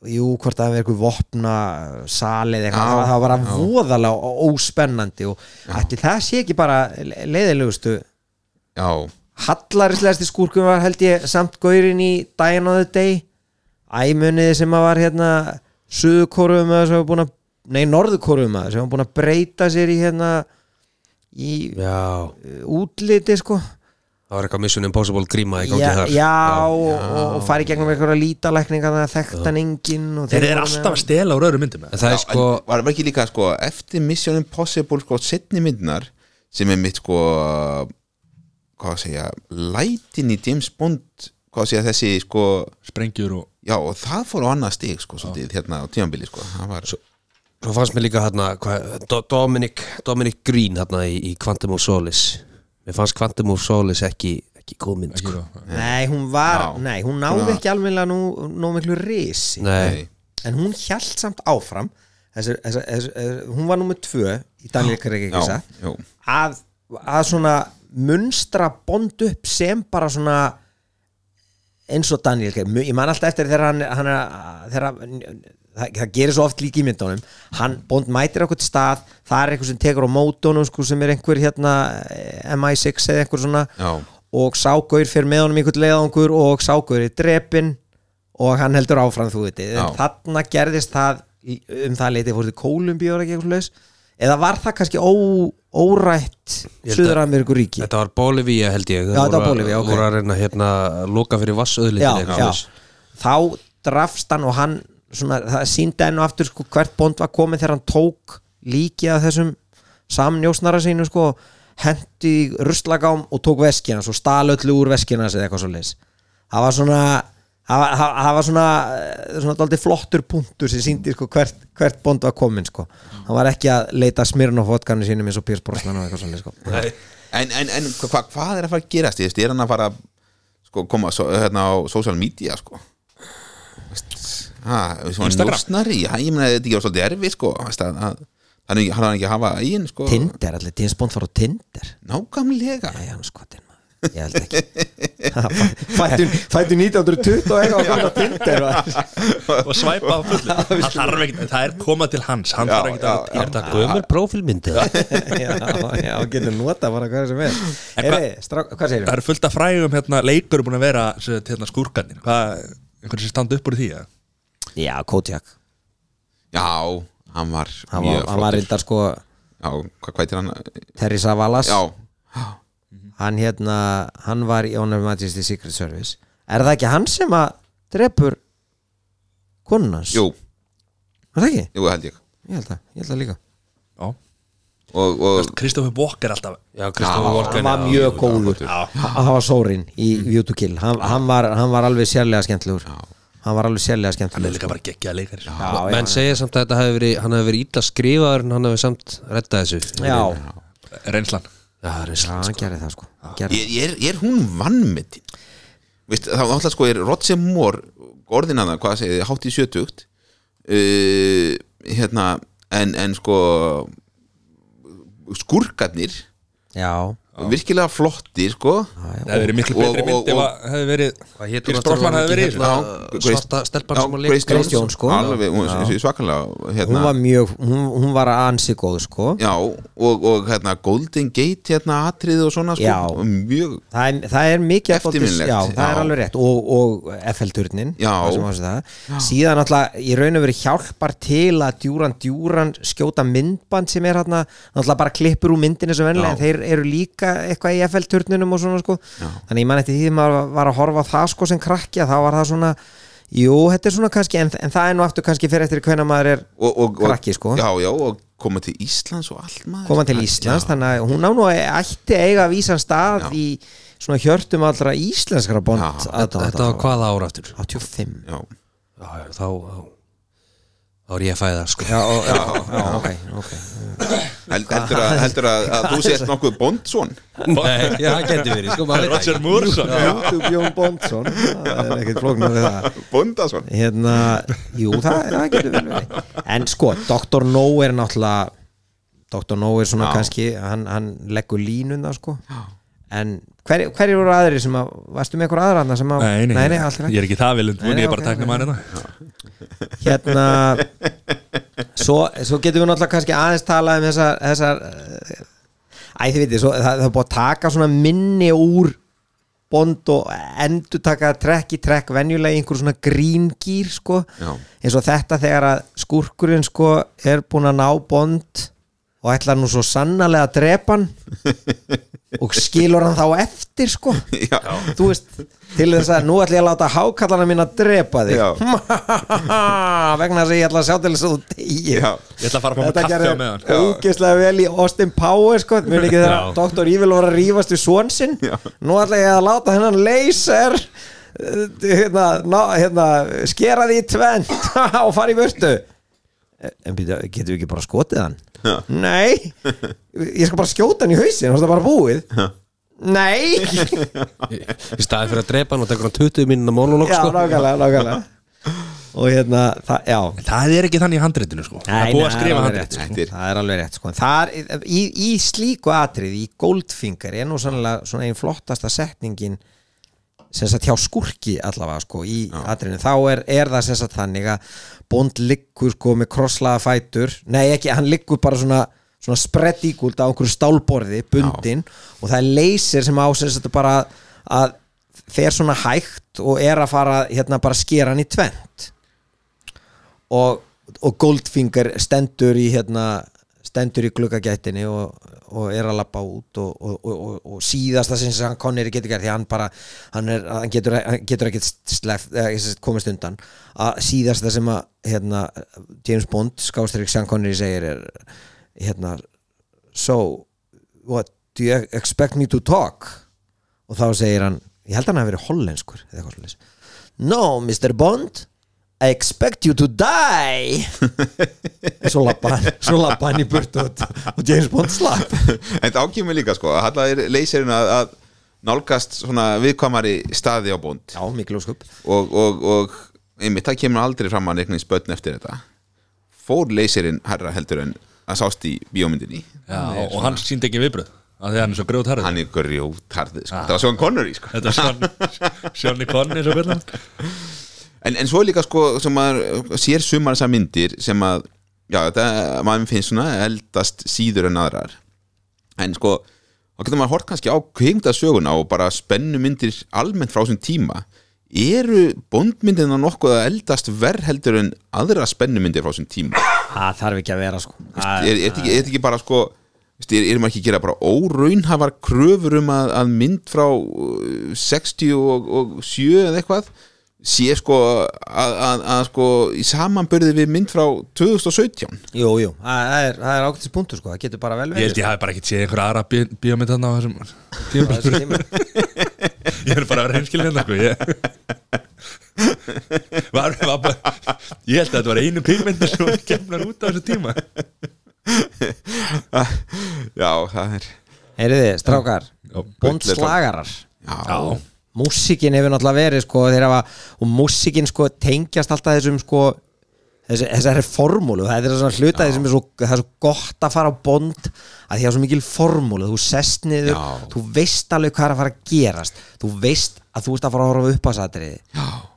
jú, hvort að það er einhver vopna salið eitthvað, það var- það var bara voðalega og óspennandi og ætli það sé ekki bara leiðilegustu
Já,
hallarislegasti skúrkum var held ég samt gaurinn í Dying of the Day æmuniði sem að var hérna suðukorfum að sem var búin að nei, norðukorfum að sem var búin að breyta sér í hérna í
já,
uh, útliti sko
það var eitthvað Mission Impossible gríma
já,
í gangi
já,
þar
og, og fari gegnum einhverja lítalækninga þannig að þekktan enginn og
Þeir
þeir
eru
voru með-
alltaf að stela úr öðru myndum
en
já
það er sko
en var var ekki líka sko, eftir Mission Impossible sko, setni myndnar sem er mitt sko, hvað að segja lætin í James Bond hvað að segja þessi sko,
Sprengjur og
já og það fór á annað stig sko, svolítið, hérna á tímanbili sko. það var
Svo fannst mér líka hérna Dominic, Dominic Green hérna í, í Quantum of Solace Mér fannst Quantum of Solace ekki, ekki komin
ekki
sko.
það.
nei, hún var,
Já.
nei, hún náði ekki alveg nú, nú miklu risi
Nei,
Nei.
en hún hjælt samt áfram þessar, þessar, þessar, hún var nummið tvö í Daniel Craig ekki
já,
satt
já,
að, að svona munstra bond upp sem bara svona eins og Daniel Craig Mu- ég man alltaf eftir þegar hann, hann er að- þegar að- það, það gerir svo oft líka í myndunum hann, Bond mætir okkur til stað það er einhver sem tekur á mótunum sko, sem er einhver hérna eh, MI6 eða einhver svona
Já.
og ságaur fyrir með honum einhvern leiðangur og ságaur er drepin og hann heldur áfram þú veit
Já.
en þarna gerðist það í- um það leiti fór til Kólumbíu eða eitthvað leis eða var það kannski ó, órætt
Ég held að-
Suður-Ameríku ríki
Þetta var Bolivía held
Já,
ég
þetta var Bolivía, ok.
Voru að reyna hérna loka fyrir
já,
vassöðlindin
já. þá drafst hann og hann svona, það síndi enn og aftur sko, hvert bond var komið þegar hann tók líkið af þessum samnjósnara sínu sko, hendi ruslagám og tók veskina og stal öllu úr veskina eða eitthvað svo leis það var svona það var, það það var svona, eh, svona daldið flottur punktur sem síndi sko, hvert, hvert bond var komin sko. hann var ekki að leita smirn á fótkarni sínum eins og Pírs Brosnan og eitthvað svo leis sko.
En, en, en hva, hva, hvað er að fara að gerast? Ég veist, er hann að fara að sko, koma so, hérna á social media sko Veist, ha, Instagram
Instagram.
Njósnari, ha, ég meina þetta er ekki svolítið erfið sko Veist, að, að, hann, er ekki- hann er ekki að hafa eigin sko
Tinder, allir James Bond fór á Tinder
Nákvæmlega
Nei, hann er skotinn maður. Ég held ekki Fættu, fættu 1920 og eitthvað að koma tindir
og svæpa á fullu það, þarf ekki, það er koma til hans hann
Já,
þarf ekki að
já,
já,
já.
Er þetta gömur prófílmyndið?
Já, já, getur nota bara hvað sem er Eri, strák, hvað segir
það
við?
er fullt af frægum hérna, leikur búin að vera sem sagt, hérna, skúrkarnir hvað, einhvern sem standa upp úr því ja?
Já, Kodiak
Já, hann var
Hann
mjög
var, hann var
flottur.
reyndar sko
Já, hvað hvað heitir hann?
Terry Savalas
Já,
Hann hérna, hann var í Honor Majesty Secret Service Er það ekki hann sem að drepur konunans?
jú,
Er það ekki?
jú held ég
Ég held það, ég held það líka
Já.
og, og,
Kristoffer Walker alltaf
Já, Kristofur Volkan
Hann var mjög góður
já,
að hafa Sórin í View to Kill hann, hann, var, hann var alveg sérlega skemmtilegur hann var alveg sérlega
hann er
skemmtilegur
líka bara geggjað leikar já,
já,
Menn segja samt að þetta hafi verið, hann hafi verið ítla skrifaður en hann hafi samt rettað þessu
já,
reynslan
Já, það er
já,
eins
hann gerði það sko Hann gerði.
ég, ég, er, ég er hún vannmetin Veist, þá náttúrulega sko er Roger Moore orðinana, hvað segið, þið, hátt í sjötugt uh, hérna en, en sko skurkarnir
já,
virkilega flottir sko
það hefði verið miklu
Og-
betri
og-
mynd ef
og-
að hefði verið
Hvað hétt
Pierce Brosnan hefði verið í þessu.
hérna? Já, Grace-
Svarta stelpan
Já,
sem að leika
Grace Jones,
Jones, sko.
alveg, hún, svakalega
hún
hérna,
var mjög hún, hún var ansi góð sko
já, og, og hérna Golden Gate hérna atrið og svona sko,
Já.
mjög
það er, það er mikið að-
Eftirminnilegt,
já, það er
já.
alveg rétt og, og FL-turnin
Já.
síðan alltaf í raun og verið hjálpar til að djúran djúran skjóta myndband sem er hérna alltaf bara klippur úr myndinu sem vennilega en
Já.
þeir eru líka eitthvað í FL-turninum og svona sko þannig ég man eftir því þegar maður var að horfa á það sko sem krakkja þá var það svona jú, þetta er svona kannski en, en það er nú aftur kannski fyrir eftir hvenær maður er
og, og,
Krakki, sko.
já, já, og koma til Íslands og allt maður
koma til Íslands þannig að hún á nú að ætti eiga vísan stað
Já.
í svona hjörtum allra íslenskra bond
Já.
aðdáenda.
Þetta var hvaða ára aftur?
85
já,
Já, já, þá þá- þá er ég að fæða sko
Já, já, já, ok, ok
held, heldur, að, heldur að, að þú sért nokkuð bondsson
Nei, já, það geti verið, sko, maður veit
Roger Mooreson
YouTube Jón Bondsson Það er ekkert flóknar við það
bondasson
Hérna, jú, það, það getur vel verið En sko, Dr. No er náttúrulega Dr. No er svona
Já.
kannski Hann, hann leggur línuna, sko En hverjir hver voru aðri sem að Varstu með einhver aðra hann sem að
Nei, nei,
nei,
ég,
allt í lagi.
ég er ekki það vilund
Nei, nei,
ég er bara
ok,
að tekna
nei.
maður hérna
hérna svo, svo getum við náttúrulega kannski aðeins talað um þessar, þessar eh, æ þið veitir, svo, það, það er búið að taka svona minni úr bond og endur taka trekk í trekk venjulega í einhver svona gríngýr sko,
Já.
eins og þetta þegar að skúrkurinn sko er búin að ná bond og ætlar nú svo sannarlega að drepa hann og skilur hann þá eftir sko
já,
þú veist, til þess að nú ætla ég að láta hákallana mín að drepa þig
Já.
vegna þess að ég ætla að sjá til þess að þú degir
já,
ég ætla að fara að fá
þetta
með kaffi á meðan
gerði ógeðslega vel í Austin Powers sko, mjög ekki þegar Dr. Evil var að rífast við svon sinn,
Já.
nú ætla ég að láta hennan laser eh, hérna, ná, hérna skera því í tvend og fara í vörtu en býta, getum við ekki bara skotið hann?
Já.
nei ég skal bara skjóta hann í hausin, þá er það bara búið Já. nei
Í staði fyrir að drepa hann og tekur hann 20 mínuna monolog
Já,
sko
nákvæmlega, nákvæmlega Og hérna, það, já
það er ekki þannig í handreitinu sko það
Nei,
er búið
nei,
að skrifa
alveg rétt,
handreitinu
sko.
Þetta er-
Það er alveg rétt sko. Það er, í, í slíku atrið, í Goldfinger er nú sannlega svona einn flottasta setningin sem sagt hjá skurki allavega sko í atrinu, þá er, er það sem sagt þannig að Bond liggur sko með krosslaða fætur, nei ekki, hann liggur bara svona, svona spread equalt á einhverju stálborði, bundin og það er leysir sem á sem sagt bara að fer svona hægt og er að fara hérna bara skera hann í tvent og, og Goldfinger stendur í hérna stendur í gluggagættinni og, og er að lappa út og, og, og, og, og síðasta sem hann Connery getur gert því hann bara, hann, er, hann getur, hann getur ekki sleft, eh, sem sagt komist undan að síðasta sem að hérna, James Bond, skástrík sem Connery segir er hérna so, what do you expect me to talk og þá segir hann, ég held að hann hafi verið hollenskur eða eitthvað svolítið No, Mr. Bond I expect you to die En svo lappa hann svo lappa hann í burtu og, og James Bond slapp
en þá kemur líka sko að halla er leysirinn að, að nálgast svona viðkvæmari staði á bónd
Já, mikil óskup
og, og, og einmitt það kemur aldrei fram að neiknins börn eftir þetta fór leysirinn herra heldur en að sást í bíómyndinni
Já,
sko.
og hann síndi ekki viðbröð af því að hann er svo grjóð harður
hann er grjótarði sko.
Ah.
það var Sean Connery sko.
Þetta er Sean- Sean Connery svo byrðan
en, en svo er líka sko sem maður sér sumar þessar myndir sem að já, þetta, maður finnst svona eldast síður en aðrar en sko, þá getur maður hort kannski á kveimdasöguna og bara spennu myndir almennt frá þessum tíma eru bondmyndina nokkuð að eldast verð heldur en aðra spennu myndir frá þessum tíma
Það þarf ekki að vera sko
er, er, þetta ekki, er þetta ekki bara sko veist, er, er maður ekki að gera bara óraunhafar kröfur um að, að mynd frá uh, 60 og, og 7 eða eitthvað sé sko að, að, að sko í samanbörði við mynd frá 2017
Jú, jú, það það er, það er ákveðtis punktu sko Það getur bara vel
Ég held
verið
ég hafi bara ekki séð einhverja aðra bí- bíómynd þarna á þessum
á
tíma
þessum tíma.
Ég er bara að vera heimskilin hérna sko ég... var, var bara... ég held að þetta var einu bíómynd sem var kemnar út á þessu tíma
já, það er
Heyriði, strákar Bond
gull er það.
slagarar
já,
Músikin hefur náttúrulega verið sko þeir hafa, og músikin sko tengjast alltaf þessum sko þessi, þessari formúlu, það er svona hluta því sem er svo, það er svo gott að fara á bond að því það er svo mikil formúlu, þú sest niður
Já.
þú veist alveg hvað er að fara að gerast þú veist að þú veist að fara að horfa upp að satriði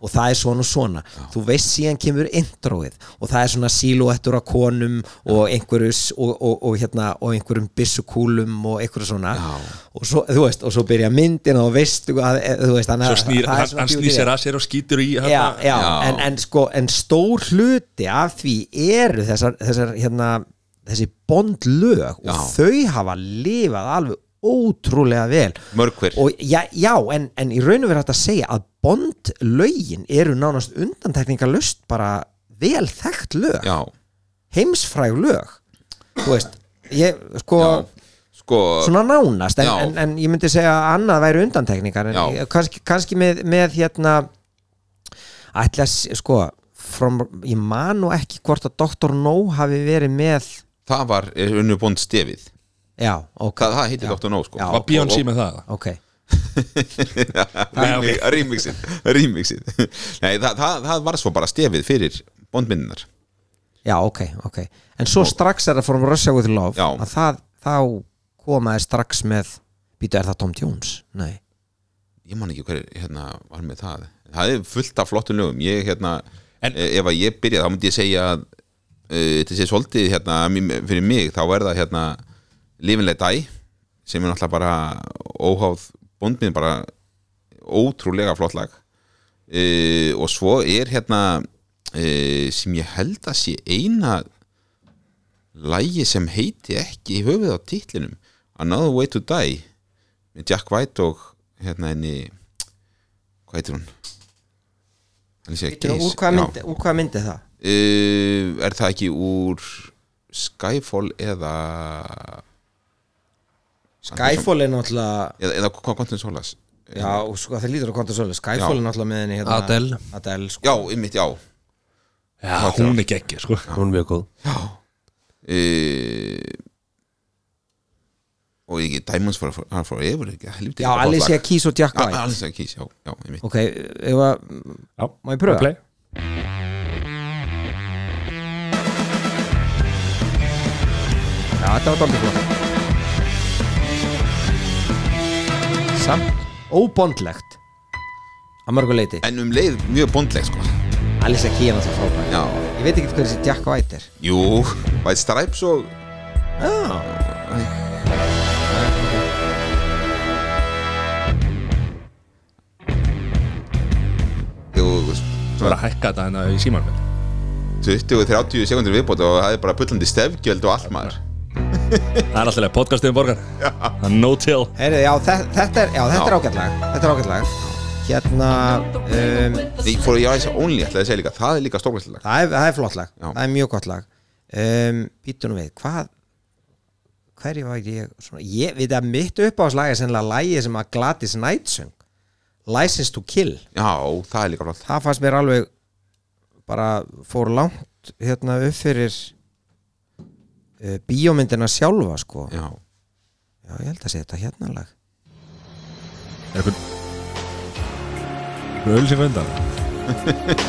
og það er svona og svona þú veist síðan kemur introið og það er svona síluettur á konum og einhverjus og, og, og, hérna, og einhverjum byssukúlum og einhverju svona og svo, þú veist, og svo byrja myndin og veist, að, e, þú veist
Svo
það
snýr,
er
hann,
svona
hann
beauty
snýr
there.
sér að sér og skýtur í hann
já, já,
Já.
En, en sko en stór hluti af því eru þessar, þessar hérna þessi bondlög og
Já.
þau hafa lifað alveg ótrúlega vel
Mörg hver.
og já, já en, en í raunum verið hægt að segja að bondlögin eru nánast undantekningalust bara vel þekkt lög
já,
heimsfræg lög þú veist, ég sko
já. sko
svona nánast en,
Já.
en, en ég myndi segja að annað væri undantekningar en
Já.
ég- kannski, kannski með, með hérna ætla að s- sko from, ég man nú ekki hvort að Dr. No hafi verið með
það var eh, unnu bónd stefið
já, ok,
það, það heitir Dr. No sko
Já.
Var Beyoncé með það?
ok
remixið remixið Nei, það, það, það var svo bara stefið fyrir bondmyndinar
já, ok, ok en svo strax er það From Russia With Love
Já.
að það, þá komaði strax með býtu, er það Tom Jones? Nei,
ég man ekki hver hérna, var með það það er fullt af flottum lögum ég, hérna,
En-
e- ef að ég byrja þá myndi ég segja að e, þetta sé svolítið hérna, mí- fyrir mig þá er það hérna, lifinlega dæ sem er náttúrulega bara óháð bóndminn bara ótrúlega flott lag e, og svo er hérna e, sem ég held að sé eina lægi sem heiti ekki í höfuð á titlinum Another Way to Die með Jack White og hérna henni hvað heitir hún? Alicia
býtu,
Keys,
úr hvað
já.
myndi, úr hvað myndi það?
Uh, er það ekki úr Skyfall eða
Skyfall er náttúrulega
eða, eða Quantum Solace
já, og sko, það lítur að konta svolítið Skyfall
Já.
er náttúrulega með henni hérna,
Adele.
Adele, sko
já, ymmit, já
Já, hún er geggir sko
hún er mjög góð
uh, og ekki Diamonds for, for, for Ever ekki, helviti
Já,
gott lag.
Alicia Keys og Jack
A-
White
Alicia Keys, já, já, ymmit
Ok, ef að
Já,
Má ég pröfa?
play.
Já, þetta var dálítið flott Samt óbondlegt að mörgu leiti
en um leið mjög bondleg sko
Alisa Key er náttúrulega frábær
Já,
ég veit ekki hvað þessi Jack White er
jú, White Stripes og
já,
jú,
Svo var
svona
að hækka þetta hérna í símanum
20-30 sekundur viðbót og það er bara bullandi stefgjöld og allt maður
Það er alltaf leið, podcastum borgar Það er no till
Heyri, já þe- þetta er, já, þetta er
Já.
ágætlag þetta er ágætlag hérna um,
Nei, for your eyes only, ætlaði að segja líka Það er líka stórkvæslega
það, er, það er flott lag,
Já.
það er mjög gott lag um, býtunum við, hvað hverju var ég svona, ég veit að mitt uppáðslag er sennilega lagið sem að Gladys Knight söng License to Kill
Já, það er líka flott
það fannst mér alveg bara fór langt hérna upp fyrir uh, bíómyndina sjálfa sko já.
Já,
ég held að sé þetta hérna lag
Er eitthvað Eitthvað ölsingu undan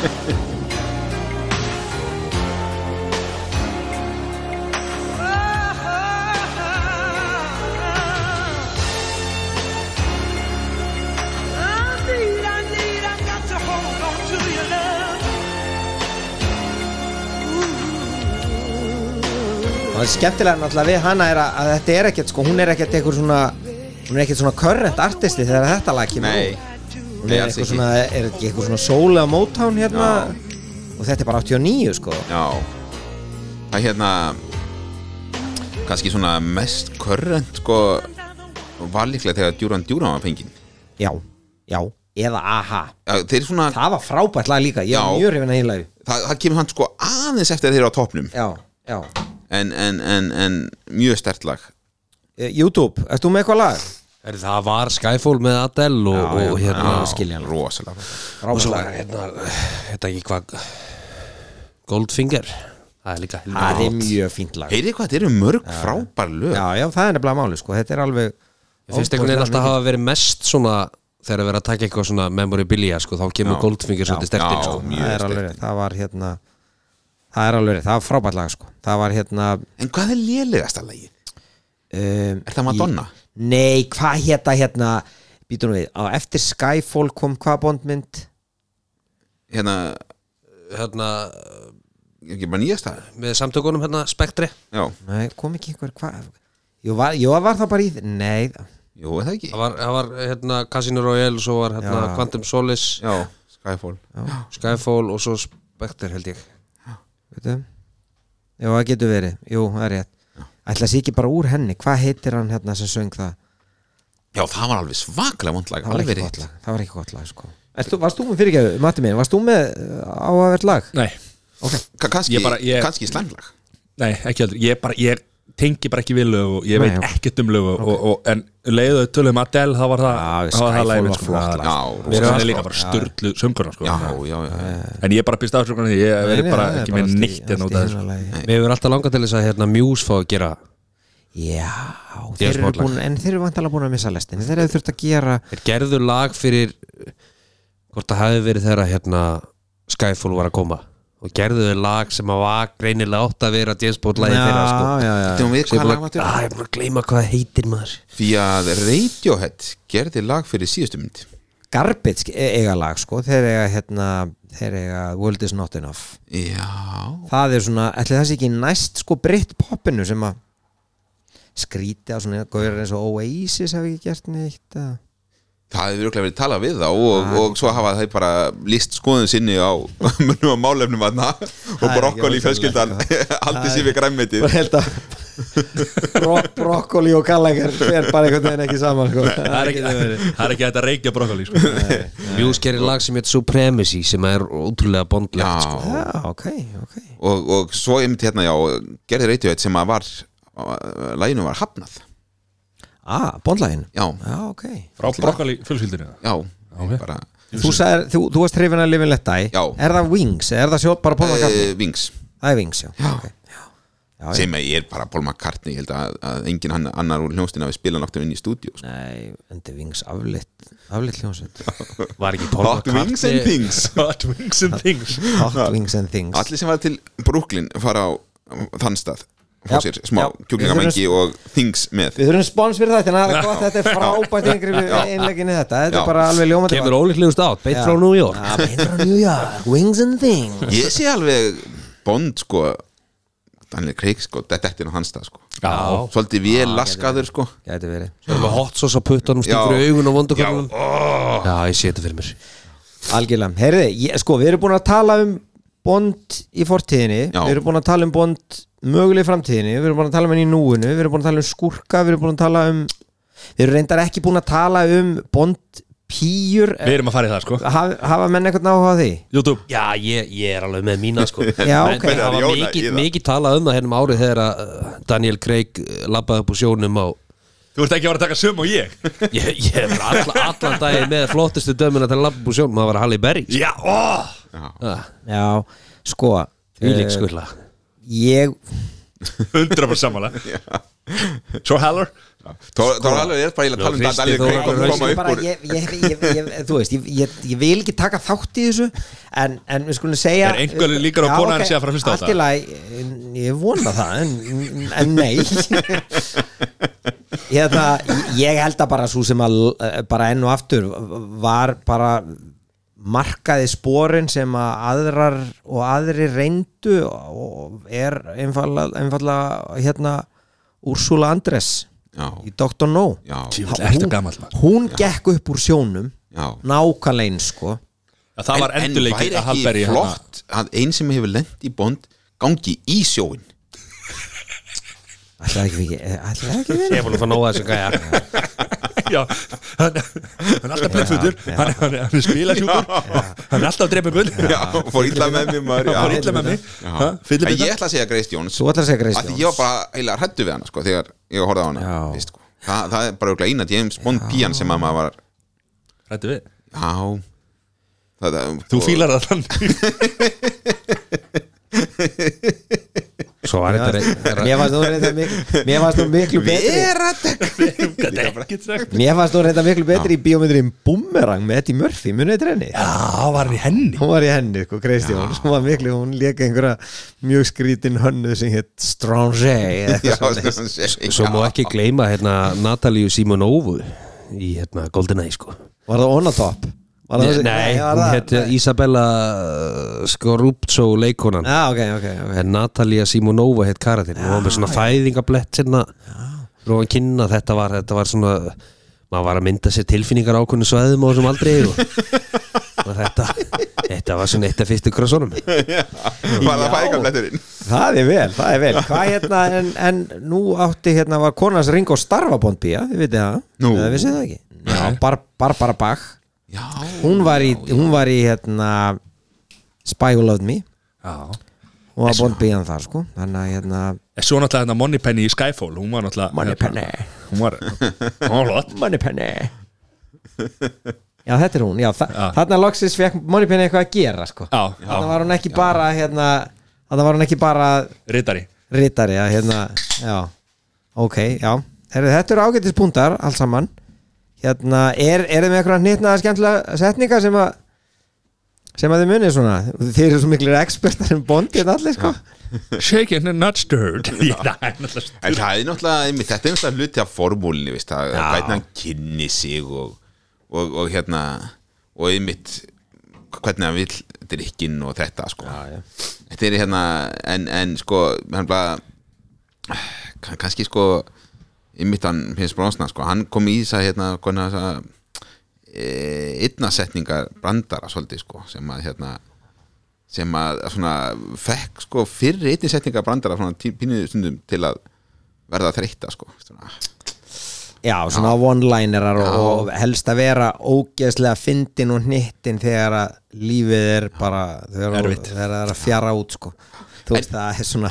I need, I need, I got to hold on to your love.
og það er skemmtilega náttúrulega við hana er að, að þetta er ekkert sko, hún er ekkert einhver svona hún er ekkert svona current artisti þegar þetta lag kemur
nei,
út. hún
nei,
er
alls
eitthvað
ekki
sko, svona, er ekki eitthvað svona sóla mótán hérna og þetta er bara 89 sko
Já Það er hérna kannski svona mest körrent sko var líklega þegar Djúran Djúran var fenginn
já, já, eða aha
Já, Þeir svona, það,
það var frábært lag líka, ég
Já.
er mjög hrifin að hýla
það, kemur hann sko aðeins eftir að þeir eru á topnum
já, já
en, en, en, en mjög stert lag
Eh, YouTube, ert þú með eitthvað lag?
Er, það var Skyfall með Adele og, og hérna
Já, skiljanlega.
Rosalega flott.
og
Frábært
svo
lag.
var hérna, hérna ekki hvað Goldfinger það er líka
Það er mjög fínt lag
Heyrið hvað, þetta eru mörg frábær lög
Já, já, það er nefnilega máli sko, þetta er alveg
Ég finnst einhvern veginn alltaf að hafa verið mest svona þegar að vera að taka eitthvað svona memorabilia sko, þá kemur Goldfinger svolítið stertinn
Já,
sko.
mjög
Það er alveg,
sterkt.
rétt, það var hérna Það er alveg, rétt, það var frábært lag sko Það var hérna
En hvað er lélegasta lagið?
um,
Er það Madonna?
Nei, hvað hérna, hérna Býtum við, á eftir Skyfall kom hvað bondmynd?
Hérna,
hérna,
ekki bara nýjasta
með samtökunum hérna, Spektri
Já,
Nei, kom ekki einhver hvað Jú, var, jú, var það bara í þ- Nei,
jú, er það ekki
það var, það var hérna, Casino Royale svo var hérna,
Já.
Quantum Solace,
Já, Skyfall Já,
Skyfall og svo Spektri held ég
veitum Jú, það getur verið, jú, það er rétt Ætla sé ekki bara úr henni, hvað heitir hann hérna sem söng það?
það var alveg svaklega vond lag
það var
alveg
ekki
rétt.
gott lag það var ekki gott lag sko Ertu, varst þú með fyrirgjöðu, Matti minn, varst þú með uh, áhugavert lag?
Nei,
Ka- kannski,
Ég bara- ég-
kannski slæmlag
nei, ekki heldur Ég, bara, ég tengi bara ekki við lög og ég
Nei,
veit
ok.
ekkert um lög og, og, og, En leiðu tölum um Adele, þá var það
Já,
þá var
Skyfall
það lagið mitt,
var flott lag.
Já,
Mér finnst
rosalega
það líka bara störtlu söngurna sko.
já, já, já, já.
En ég bara býst afsökunni Ég hef verið bara
það er
ekki með
allt í-
neitt
allt
en
í
út af
hinu
þessu sko.
lagi.
Mér hefur alltaf langað til þess að hérna, Muse fá að gera
Já,
Ég
þeir
er
eru
smátt lag.
búin, en þeir eru vantalega búin að missa lestin Þeir eru þurft að gera
Þeir gerðu lag fyrir hvort það hafi verið þegar að, hérna, Skyfall var að koma og gerðu þeir lag sem að var greinilega átt að vera James Bond lagi þeirra sko.
já, já, já.
Þú við
Ég er
hvað
búin
lag var
að- Ah,
þetta?
ég er búin að gleyma hvað það heitir maður
Því að Radiohead gerði lag fyrir síðustu mynd
Garbage e- eiga lag sko Þeir eiga hérna Þeir eiga World is not enough
Já,
Það er svona, ætli það sé ekki næst sko Britt poppinu sem að skríti á svona gaurar eins og Oasis hef ekki gert neitt eða-
það hefur örugglega verið talað við þá og, og svo hafa þeir bara list skoðun sinni á munum og málefnum aðna og
er
brokkoli í
ekki sko.
fjölskyldan aldrei sér við græmmetið
bara held að bro brokkoli og kallegar fer bara einhvern veginn ekki saman sko.
Það er ekki- það er ekki hægt að reykja brokkoli sko.
Muse gerir lag sem heitir Supremacy sem er ótrúlega
Já,
bondlegt sko.
já, ok, ok
og, og svo einmitt hérna, já, gerði Radiohead sem að var, læginu var hafnað
ah, bondlægin
Já,
já, ok
Frá brokkoli fjölskyldinu
já, bara
þú, sagðir, þú, þú varst hrifin að lifin letta í
Já.
er það Wings, er það sjótt bara Paul McCartney
Eh, Wings
það er Wings, já, okay. já. já,
sem er bara Paul McCartney ég held að, að engin hann, annar úr hljónstina við spila hann aftur inn í stúdíu sko.
Nei, endi Wings aflitt aflitt hljómsveit
Var ekki Paul
Hot Wings and
McCartney
Things
Hot wings and things
Hot Wings and Things
Allir sem var til Brooklyn fara á um, þann stað fá sér
já.
smá kjúklingavængi og things með
Við þurfum spons fyrir þetta, það er gott, þetta er frábært inngrip innlegginni þetta, þetta
Já.
er bara alveg ljómandi
Kemur ólíklegust át, beitt
Já.
frá New York
Það meinar á New York, wings and things
Ég sé alveg Bond sko Daniel Craig sko, þetta er inn á hans stað sko
Já.
Svolítið vel laskaður sko
Gæti verið
Það er með hot sauce á puttunum, stingur í
Já.
augun og vondukarunum Já, ég sé þetta fyrir mér
Algjörlega, heyrði, ég, sko við erum búin að tala um Bond í fortíðinni
Já.
Við erum búin að tala um Bond möguleg í framtíðinni Við erum búin að tala um henni í núinu Við erum búin að tala um skúrka, við erum búin að tala um Við erum reyndar ekki búin að tala um Bond pýjur
Við erum að fara í það sko
hafa, hafa menn eitthvað náhuga á því?
YouTube
Já, ég, ég er alveg með mína sko
Já, ok.
Það
Byrjar að
var
jóla í
mikið,
það.
mikið talað um það hennum árið þegar að uh, Daniel Craig uh, labbaði upp úr sjónum á
Þú ert ekki að vera að taka sömu og ég
Ég, ég er all, allan daginn með flottustu dömuna til að labba upp úr sjónum, það var Halle Berry sko.
Já, ó
Ah,
Já, sko
Því lík
eh,
skvilla
Ég,
100% samanlega Svo Heller
Þá
Sko,
þá er alveg, ég er bara eiginlega að tala um
Kristi
þetta
Ég
Daniel Craig og koma
Þór Þór
skal
upp
bara,
úr
ég, ég, ég, ég, þú veist, ég, ég, ég vil ekki taka þátt í þessu en, en við skulum segja
Er einhver líkur á
Já,
kona hans
ok,
sé að fara að hlusta á
allt í lagi, ég vona það en, en nei hérna, ég held að bara svo sem að bara enn og aftur var bara markaði sporin sem að aðrar og aðri reyndu og er einfallega, einfallega hérna Úrsula Andres
Já.
í Dr. No
Já,
Djöfull, ertu gamall, maður.
hún gekk upp úr sjónum
Já.
nákvæmlega eins sko
Já, Það var endurleiki að Hallberg í hérna.
En væri
hana
ekki flott að einn sem hefur lent í Bond gangi í sjóin
ætlaði ekki fyrir ætlaði ekki fyrir
Ég fór að fá nóga þessu gæja
Já, hann, hann er alltaf blöðfutur
já.
hann, hann, hann er spilasjúkur Hann er alltaf að drepa gull
Já, fór illa með mér maður
Hann fór illa með mig Ha,
En
fyllibita.
ég ætla að segja Grace Jones
Þú ætlar að segja Grace
Af Því
Jones.
ég var bara eiginlega hrættu við hana sko Þegar ég horfði á hana
Já.
fyrst, sko. Þa, Það er bara örugglega eina James Bond pían sem að maður var
Ræddu við
Já það, það, sko.
Þú fílar það þannig
Svo var þetta reynd
mér fannst þú reynda miklu mér fannst þú miklu betri
Þetta er ekkert sagt
mér fannst þú reynda miklu betri í bíómyndurinn Boomerang með Eddie Murphy munið þetta henni
Já, var hann í henni
hún var í henni sko Kristján hún var miklu hún lék einhverja mjög skrítin hönnu sem hétt Strange eða
Já,
eitthvað svoleiðis.
svona segja.
Svo má ekki gleyma hérna Natalíu Simonovu í hérna GoldenEye sko
var það on a top var
Nei,
það-
nei,
var
hún
það-
hétt Isabella uh, Skorupzo leikonan
Já, ok, ok, ok
en Natalia Simonova hétt karatinn og var með svona hérna. fæðingablett sinna og hann kynna þetta var, þetta var svona maður var að mynda sér tilfinningar á ákvörnu sveðum og sem aldrei og, og þetta, þetta var svona eitt af fyrstu krossunum
Var það fæðingabletturinn
Það er vel, það er vel Hvað hérna, en, en nú átti hérna var konans Ringo Starfabond bíja, þið vitið það
Nú.
Eða vissið það ekki Já, bar, Barbara Bach
Já
Hún var í, hún var í hérna Spy Who Loved Me
Já
og var Bond bíjan þar sko Þannig að hérna
En Svo náttúrulega hérna Moneypenny í Skyfall Hún var náttúrulega
Moneypenny.
hérna, Hún var Hún var hlott
Moneypenny Já, þetta er hún, já, þa
Já.
þarna loksins fekk Moneypenny eitthvað að gera sko
Já, já.
Þarna var hún ekki bara hérna Þarna var hún ekki bara
Rittari
Ritari, já, hérna, já Ok, já, Heru, þetta eru ágætis púntar alls saman Hérna, er, er þið með eitthvað nýtnaða skemmtilega setninga sem að sem að þið munið svona Þið eru svo miklir expertar um Bond hérna allir, sko
Shaken and not stirred Já, það er náttúrulega
En það er náttúrulega, einmitt, þetta er náttúrulega hluti af formúlinni, veist, að hvernig hann kynni sig og, og, og hérna og einmitt hvernig hann vill drikkinn og þetta sko. já, já. þetta er hérna en, en sko, hann bara kann- kannski sko einmitt hann finnst bronsna, sko, hann kom í þess að hérna, hvernig þess að einnasetningar brandara svolítið, sko, sem að hérna sem að að svona fekk sko fyrir einni setninga brandara svona tí- pínu stundum til að verða þreytta sko svona.
Já, svona one-linerar og, og helst að vera ógeðslega fyndin og hnittin þegar að lífið er bara þegar,
Erfitt.
þegar það er að fjara út, sko Þú veist, það er svona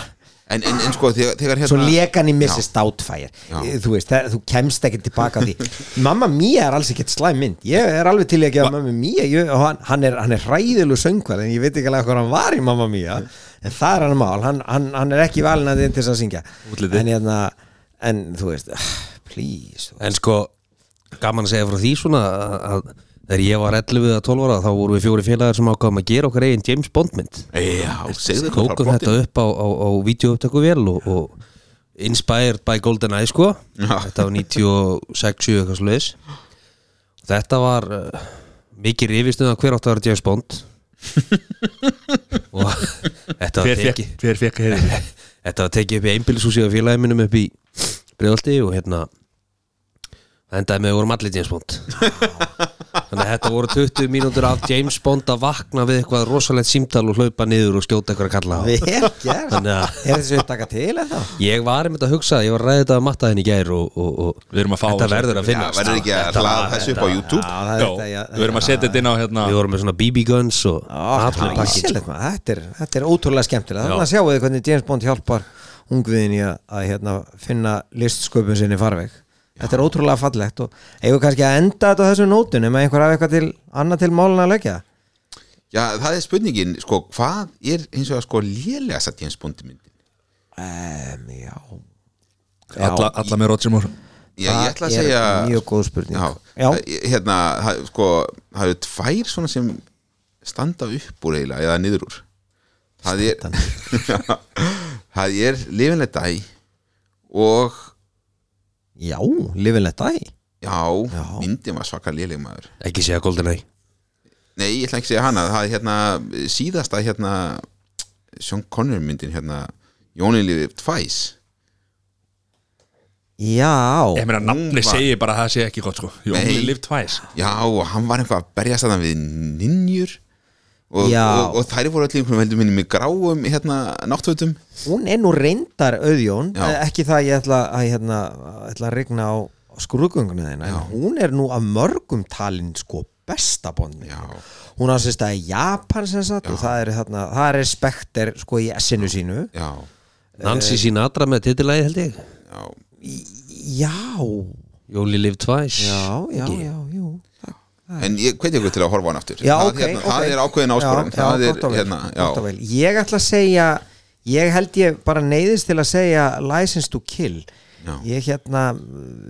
en, en, en sko þegar, þegar
svo
hérna
lekan í Mrs. Doubtfire
Já.
þú veist, það, þú kemst ekki tilbaka á því Mamma Mia er alls ekkert slæm mynd ég er alveg til í að gefa Mamma Mia ég, og hann, hann, er, hann er hræðilu söngvar en ég veit ekki alveg hvað hann var í Mamma Mia en það er hann mál, hann, hann, hann er ekki valin að þinn til þess að syngja
Útlitið.
en, hérna, en þú veist, ah, please
en sko, gaman að segja frá því svona að, að þegar ég var 11 eða 12 ára þá vorum við fjóri félagar sem ákvæðum að gera okkar eigin James Bond mynd
já, segðu
tókum þetta upp á, á, á videóupptöku vel og, og Inspired by GoldenEye sko Þetta var 96, 7 eitthvað sluðis Þetta var uh, mikið rifistum að hver átti að vera James Bond og þetta var
Hver fekk,
tekið
hver fekk heiðin?
þetta var tekið upp í einbýlishúsi á félagi minnum upp í Breiðolti og hérna það endaði með að við vorum allir James Bond þannig að þetta voru 20 mínútur af James Bond að vakna við eitthvað rosalegt símtal og hlaupa niður og skjóta eitthvað að kalla á
Vel gert
þannig að
Er þessi upptaka til eða þá?
ég var einmitt að hugsa, ég var ræðið þetta að matta henni í gær og, og, og
Við erum að fá
þetta
þessa-
verður að
Já,
finna
verður ekki að hlaða þessu upp á YouTube
Já, það
Já,
er þetta já,
við erum að setja þetta inn á hérna
við vorum með svona BB guns og
Á,
allir
það er
pakkið
ísilegt, maður. Þetta er- þetta er ótrúlega skemmtilega þannig að sjáu þið hvernig James Bond hjálpar ungviðin í að, að hérna, finna listsköpun sinni farveg þetta er ótrúlega fallegt og eigum kannski að enda þetta á þessu nótunum eða einhver af eitthvað til annað til málun að leggja
Já, það er spurningin, sko, hvað er eins og að sko lélega satt James Bond myndin?
um, Já,
alla, alla með Roger Moore
Já, ég
Það
ætla að
er
segja
mjög góð spurning.
Já,
Já.
það- hérna, það- sko, það eru tvær svona sem standa upp úr eiginlega eða niður úr Það er Það er lifinlega dæ og
já lifinlegt æ
já,
Já.
myndin var svaka léleg maður
ekki segja GoldenEye
Nei, ég ætla ekki að segja hana, það er hérna síðasta hérna Sean Connery myndin hérna Jónin lifið tvæs
Já,
Ég meina, nafni
Hún var-
segir bara að það sé ekki gott sko You
Nei.
only live twice
Já, og hann var eitthvað að berjast þarna við ninjur og,
Já.
og, og þær voru allir einhverjum heldur minni með gráum hérna náttfötum
hún er nú reyndar auðjón,
Já.
Eh, ekki það að ég ætla að, hérna, ætla að regna á skrúðgöngunni þeina, en hún er nú af mörgum talin sko besta bondin
Já,
hún á sér stað í Japan sem sagt og það er, þarna, það er spekter sko í essinu sínu
já,
Eh.
Nancy Sinatra með titilagi held ég
já
já,
You only live twice
já, já, já, jú
En ég hveti ykkur til að horfa á hann aftur
Ah. já,
það,
ok,
hérna,
ok.
það er ákveðin
já,
áskorun Það
já,
er
gott og vel,
hérna,
gott og
já,
vel. ég ætla að segja ég held ég bara neyðist til að segja license to kill
Já.
ég hérna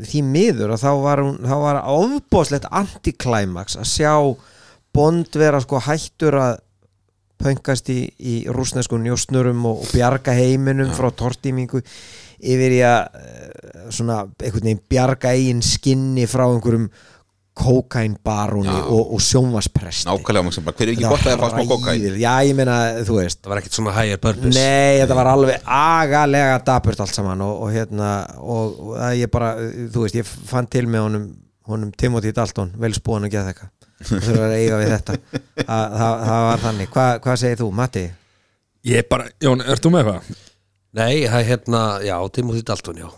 því miður að þá var, hún, þá var ofbóðslegt antiklæmaks að sjá Bond vera sko hættur að pöngast í, í rúsnesku njósnurum og, og bjarga heiminum frá tortímingu yfir í að eh, svona einhvern veginn bjarga eigin skinni frá einhverjum kókainbaróni
Já.
og, og sjónvaspresti
nákvæmlega maður sem bara, Hver er ekki gott að það fá smá kokka í
Ræðil- Já, ég meina, þú veist
það var ekkert svona higher purpose
Nei, þetta var alveg agalega dapurt allt saman og, og hérna og, og að ég bara, þú veist, ég fann til með honum, honum Timothy Dalton vel spúan og geða þekka þú þurfum að eiga við þetta það, það, það var þannig, Hva, hvað segir þú, Matti?
Ég bara, Jón, ert þú með eitthvað?
Nei, það er hérna, já, Timothy Dalton, já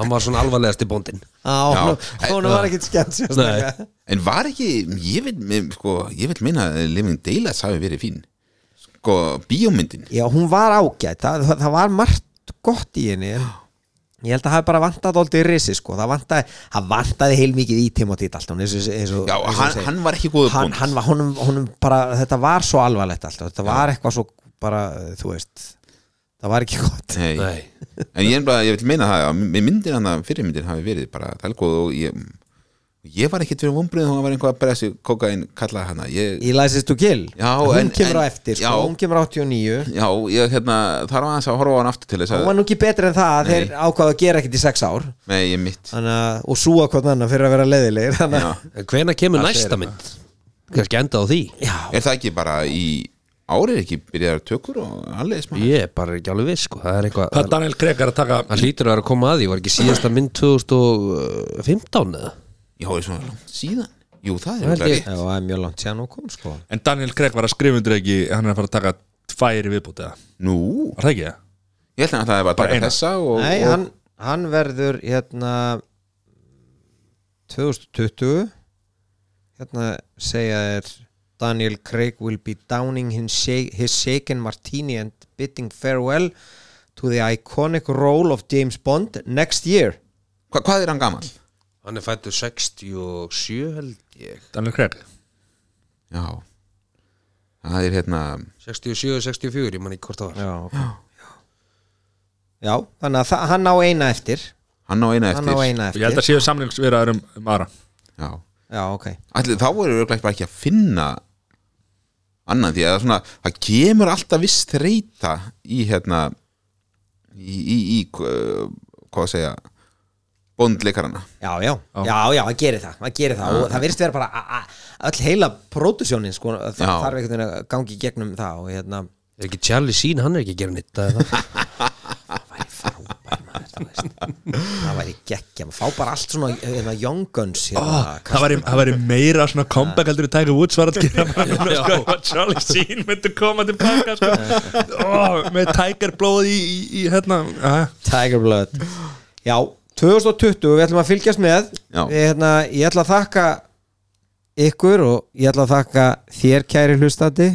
Hann var svona alvarlegasti bóndin
Á, honum, honum var ekkert skemmt sérstaklega.
En var ekki, ég vil, mig- sko, ég vil meina að Living Daylights hafi verið fín Sko, bíómyndin
Já, hún var ágætt, það, það, það var margt gott í henni en ég held að það hafi bara vantað alltaf í risi sko, það vantaði, það vantaði heilmikið í Timothy Dalton eins og, eins og,
Já,
sko, eins og
hann-
segir.
hann var ekki góður
hann,
Bond.
hann var, honum, honum bara, þetta var svo alvarlegt alltaf, þetta var eitthvað svo bara, þú veist það var ekki gott
Nei.
Nei,
En ég, er bara, ég vil meina það að mi- myndin hann að fyrirmyndin hafi verið bara tælgóð og ég, ég var ekkit fyrir vombrið hún var einhvað að berja sig kokain kallaði hana ég,
í Læsist to Kill,
Já,
hún
en-
kemur á
en-
eftir sko,
já.
hún kemur á 89
Já, ég hérna, þar var hans að horfa á hann aftur til þess
hún
að
var nú ekki betri en það, að þeir ákvaða að gera ekkert í sex ár
Nei, ég mitt
Þannig að, og súa hvort annan fyrir að vera leðilegir þannig
Já.
að
en hvena kemur næsta mynd? Kannski enda á því
Er það ekki bara í árið ekki byrjaðar tökur og allir smá
Ég er bara ekki alveg viss, sko Það er eitthvað,
Hvað Daniel Craig er að taka
hann hlýtur að vera að koma að því Var ekki síðasta mynd 2015 eða?
Já, er svona langt síðan Jú, það er
Það held
örugglega
ég.
Já, það er mjög langt sér nú kom sko
En Daniel Craig var að skrifundur ekki Hann er að fara að taka tvær í viðbúti Var
Nú,
það ekki það?
ég ætla að það er bara að
Bara
taka
eina.
þessa og,
Nei,
og
hann, hann verður hérna 2020 hérna segja þér Daniel Craig will be downing his, shake, his shaken martini and bidding farewell to the iconic role of James Bond next year
hva, Hvað er hann gaman?
Hann er fættur 67 held ég
Daniel Craig
Já Það er hérna
67, 64, ég man ekki hvort það var
Já, okay. Já þannig að þa- hann á eina eftir
Hann á eina eftir
Hann á eina
Ég held
eftir
að séu samlingsveraður um, um aðra
Já
Já, ok
Ætli, Þá voru örugglega bara ekki að finna annan því að það er svona, það kemur alltaf viss þreita í hérna í, í, í uh, hvað að segja bondleikarana
Já, já, já, já, hann gerir það, hann gerir það og það virðist vera bara a- a- öll heila pródusjónin, sko, það
Já.
þarf einhvern veginn að gangi gegnum það og hérna
Er ekki Charlie Sheen, hann er ekki að gera nýtt Það er það
væri frábær maður, þú veist það væri geggja, maður fá bara allt svona hérna, young guns hérna,
Ah, Það væri, það væri meira svona comeback heldur í Tiger Woods var að gera bara, sko, ef Charlie Sheen myndi koma tilbaka sko. oh, með Tiger blóð í, í, í hérna ah,
Tiger Blood Já, 2020, við ætlum að fylgjast með
Já.
við, hérna, ég ætla að þakka ykkur og ég ætla að þakka þér kæri hlustandi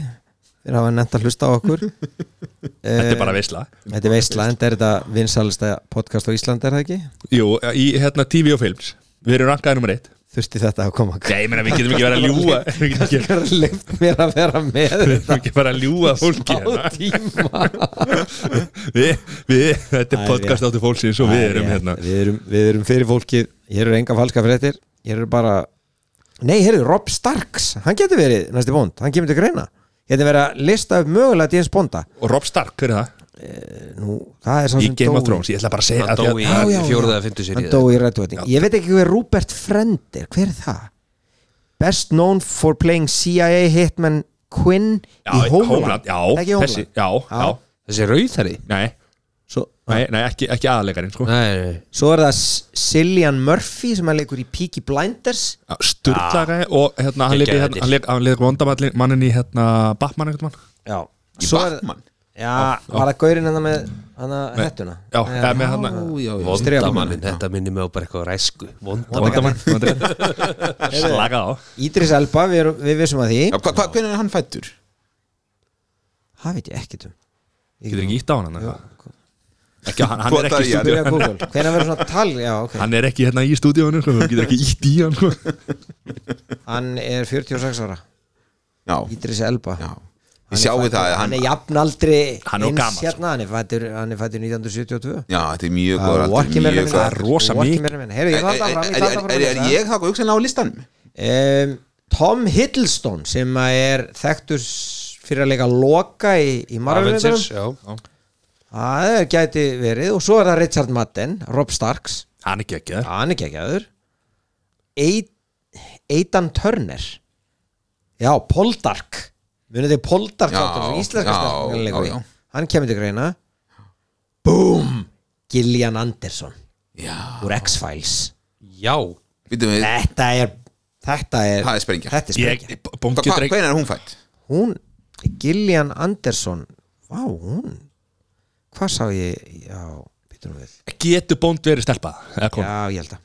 fyrir að hafa nefnt að hlusta á okkur
Þetta
Eh,
er bara veisla
Þetta er veistla, en er þetta vinsalista podcast á Íslandi, er það ekki?
Jú, í hérna TV og films Við erum rankaðið nummer eitt
Þurfti þetta að koma
Nei, ég meina, við getum ekki verið að ljúga Við getum ekki-
Leift mér að vera með
við getum ekki verið að ljúga fólki
á
hérna.
tíma
við, við, Þetta er podcast áttu fólksins og við erum
Æ,
hérna
við erum, við erum fyrir fólkið Hér eru enga falska fréttir Hér eru bara Nei, heyrðu, Rob Starks Hann getur verið næsti bónd Hann kemur til greina Getur verið að lista upp mögulega James Bonda
Og Rob Stark, hver er það?
Nú, það er sá
Í
sem
Game
dó
of Thrones, ég ætla bara að segja
Hann
af því
dó í
Já, já, já.
fjóruða eða fymtu
Hann
serið
dó í Red Wedding Ég veit ekki hver Rupert Friend er Hver er það? Best known for playing CIA hitman Quinn
Já,
í Homeland
Já,
Ekki Homeland
þessi, já, já
Þessi rauðari
Nei,
Svo,
nei, nei ekki, ekki aðleikarinn sko.
Nei,
svo er það Cillian Murphy sem hann leikur í Peaky Blinders
Sturlaga og hérna, hann
Geggjaður
leikur hérna,
þetta.
hann leikur hann leikur vondamannin í hérna, Batman einhvern mann
Já,
Í
svo er
Batman?
Já, var það gaurinn hennar með hana hettuna
Já, eða með hann
vondamannin Þetta minnir mig á bara eitthvað á ræsku
Vondamann
Vondamannin
vondamann. Slaka á
Ídris Elba, við, erum- við vissum að því
Já, hva, hva, Hvernig er hann fættur?
Það veit ég ekkit um
Getur ekki ítt á hann eða? ekki, hann, hann, er
Potaði
ekki í
í hann.
stúdíu,
Byrja að Google, hvenær verður svona tal Já, ok,
hann er ekki hérna í stúdíónu sko. þú getur ekki ítt í hann sko.
hann er 46 ára
Já,
Ídris Elba
já
Hann
Ég
er
sjáu
fæddur-
það að
Hann
hann,
er jafnaldri
Hann er of
eins
gamall, sko.
hérna, Hann er fættur, hann er fættur 1972
Já, þetta er mjög
Það
góð
er vorki meira minna
Það er rosa mikið.
Herru, ég þarf það fram, ég þarf það
Er
fram
er ég þá hugsanlega á listanum?
um, Tom Hiddleston sem að er þekktur s- fyrir að leika loka í, í Marvel-myndunum
Avengers, já
Það er gæti verið og svo er það Richard Madden, Rob Starks
hann er ekki ekki þar
hann er geggjaður Eitan Turner já, Poldark munið þið Poldark
Já,
þáttum sem íslenska
já,
stelpunarleikur
já, já.
hann kemur til greina Boom Gillian Anderson
Já
úr X-Files
Já
Býtum við,
þetta er þetta er,
það er sprengja
þetta er
ég,
sprengja
bóngi
Hva-
dreng
Hvenær er hún fætt?
hún, Gillian Anderson vá, hún hvað sá ég já, býtum við
getur bónd verið stelpa eða kona?
já, ég held að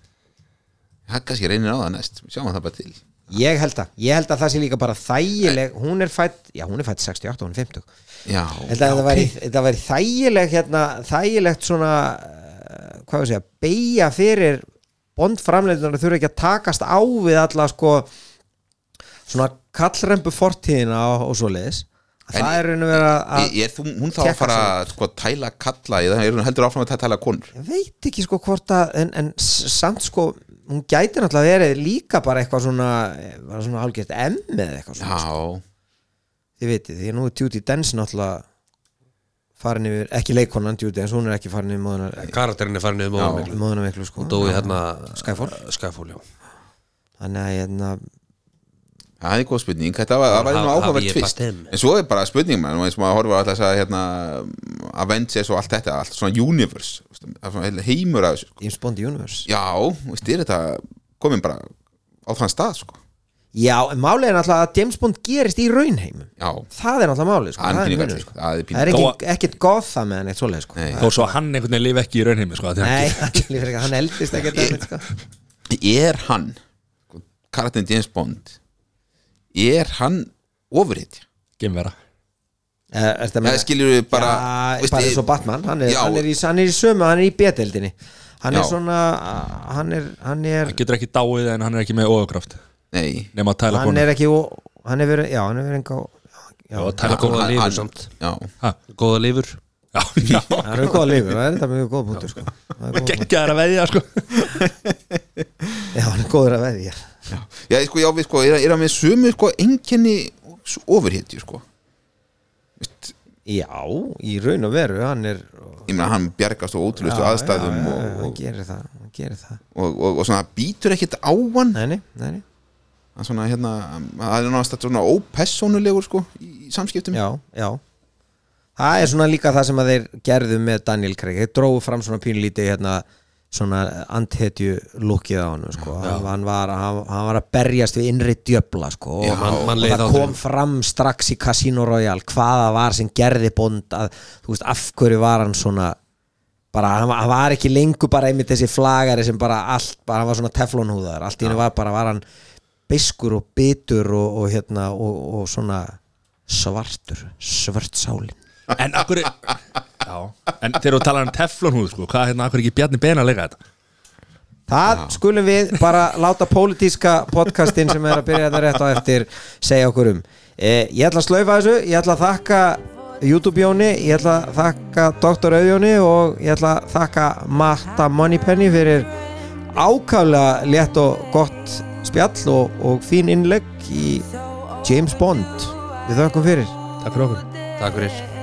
Það kannski reynir á það næst, sjáum það bara til
Ég held að, ég held að það sé líka bara þægileg Hún er fætt, já hún er fætt 68, hún er 50
Já,
Held að það væri, þetta væri þægileg hérna, þægilegt svona eh, hvað við segja, beigja fyrir bondframleidunar þurfa ekki að takast á við alla sko svona kallrembu fortíðina og, og svoleiðis
En
Það er raun og vera að
Ég- ég- þú- Hún þá að
Tékka
fara að, sko, að tæla kalla eða er hún heldur áfram að tæla konur
ég veit ekki sko hvort að en, en s- samt sko, hún gæti náttúrulega verið líka bara eitthvað svona bara svona hálfgert M eða eitthvað svona
Já,
þið veitir, því að nú er Judy Dench náttúrulega farin yfir, ekki leikonan Judy Dench, hún er ekki farin yfir móðuna
Karakterinn er um farin niður móðum
móðuna miklu sko
Dói hérna
Skyfall.
Skyfall, já
þannig að hérna,
það er góð spurning Þetta var, það væri nú
Ha-
áhugavert
hafi ég
tvist
bara þeim?
En svo er bara spurning mann, eins og maður horfa alltaf að hérna, Avengers og allt þetta, allt svona universe veistu, það er svona heil- heimur að þessu sko.
James Bond Universe
Já, veist, er þetta komin bara á þann stað sko.
já, en málið er náttúrulega að James Bond gerist í raunheimum
Já,
það er náttúrulega málið sko,
Hann
það er
pínu
munur,
galli,
sko.
það er pínu-
það er
Þó
ekki, ekkit Gotham eða neitt svoleið sko
Nei.
þó svo að hann einhvern veginn lifi ekki í raunheimi sko, af því hann
Nei,
getur-
hann lífir ekki, hann eldist ekki dæmið, sko.
er hann karakterin James Bond er hann ofurhitt
geimvera
Er, er það
það skilur við bara
já,
veist,
bara
ég-
eins og Batman hann er,
Já.
hann, er í, hann er í sömu, hann er í beteldinni hann
Já.
er svona hann er, hann er
hann getur ekki dáið en hann er ekki með óökraft
nei,
nema að tæla
hann
konu
er ekki ó- hann er verið, já, hann er verið enga já,
og tæla konu
Góða
hann-
lifur
hann-
samt
já,
Góða lifur
já, já,
það eru góða lífur, það er þetta mjög góð punktur sko. Það er góð-
geggjaður að veðja sko
já, hann er góður að veðja
já. já, sko, já, við sko er, er hann með sömu sko, enginni ofurhittju sko Veist,
Já, í raun og veru hann er
ég meina hann bjargast á ótrúlustu aðstæðum
já, já,
og,
hann
og,
gerir það, hann gerir það.
og, og, og svona býtur ekkit á hann
Nei, nei, nei, nei.
Hann svona hérna, það er náttúrulega svona ópersónulegur sko í, í samskiptum
Já, já Það er svona líka það sem að þeir gerðu með Daniel Craig þeir dróðu fram svona pínlítið hérna svona andhetju lukkið á hann sko. hann, hann, var, hann, hann var að berjast við innri djöfla sko. og,
mann- mann
og
leið
það
á
kom fram strax í Casino Royale hvaða var sem gerði bond að, þú veist, af hverju var hann svona bara, hann, var- hann var ekki lengur bara einmitt þessi flagari sem bara allt, bara, hann var svona teflonhúðar, allt í henni var bara var hann beiskur og bitur og, og hérna, og, og svona svartur, svört sálin
En akkur Já, en þegar þú talar um teflonhúð sko, hvað hérna, akkur ekki Bjarni Ben að leika þetta?
Það skulum við bara láta pólitíska podcastin sem er að byrja þetta rétt á eftir segja okkur um. Eh, ég ætla að slaufa þessu, ég ætla að þakka YouTube-jóni, ég ætla að þakka Dr. Auðjóni og ég ætla að þakka Matta Moneypenny fyrir ákaflega létt og gott spjall og, og fín innlegg í James Bond. Við þökkum fyrir.
Takk fyrir okkur
Takk fyrir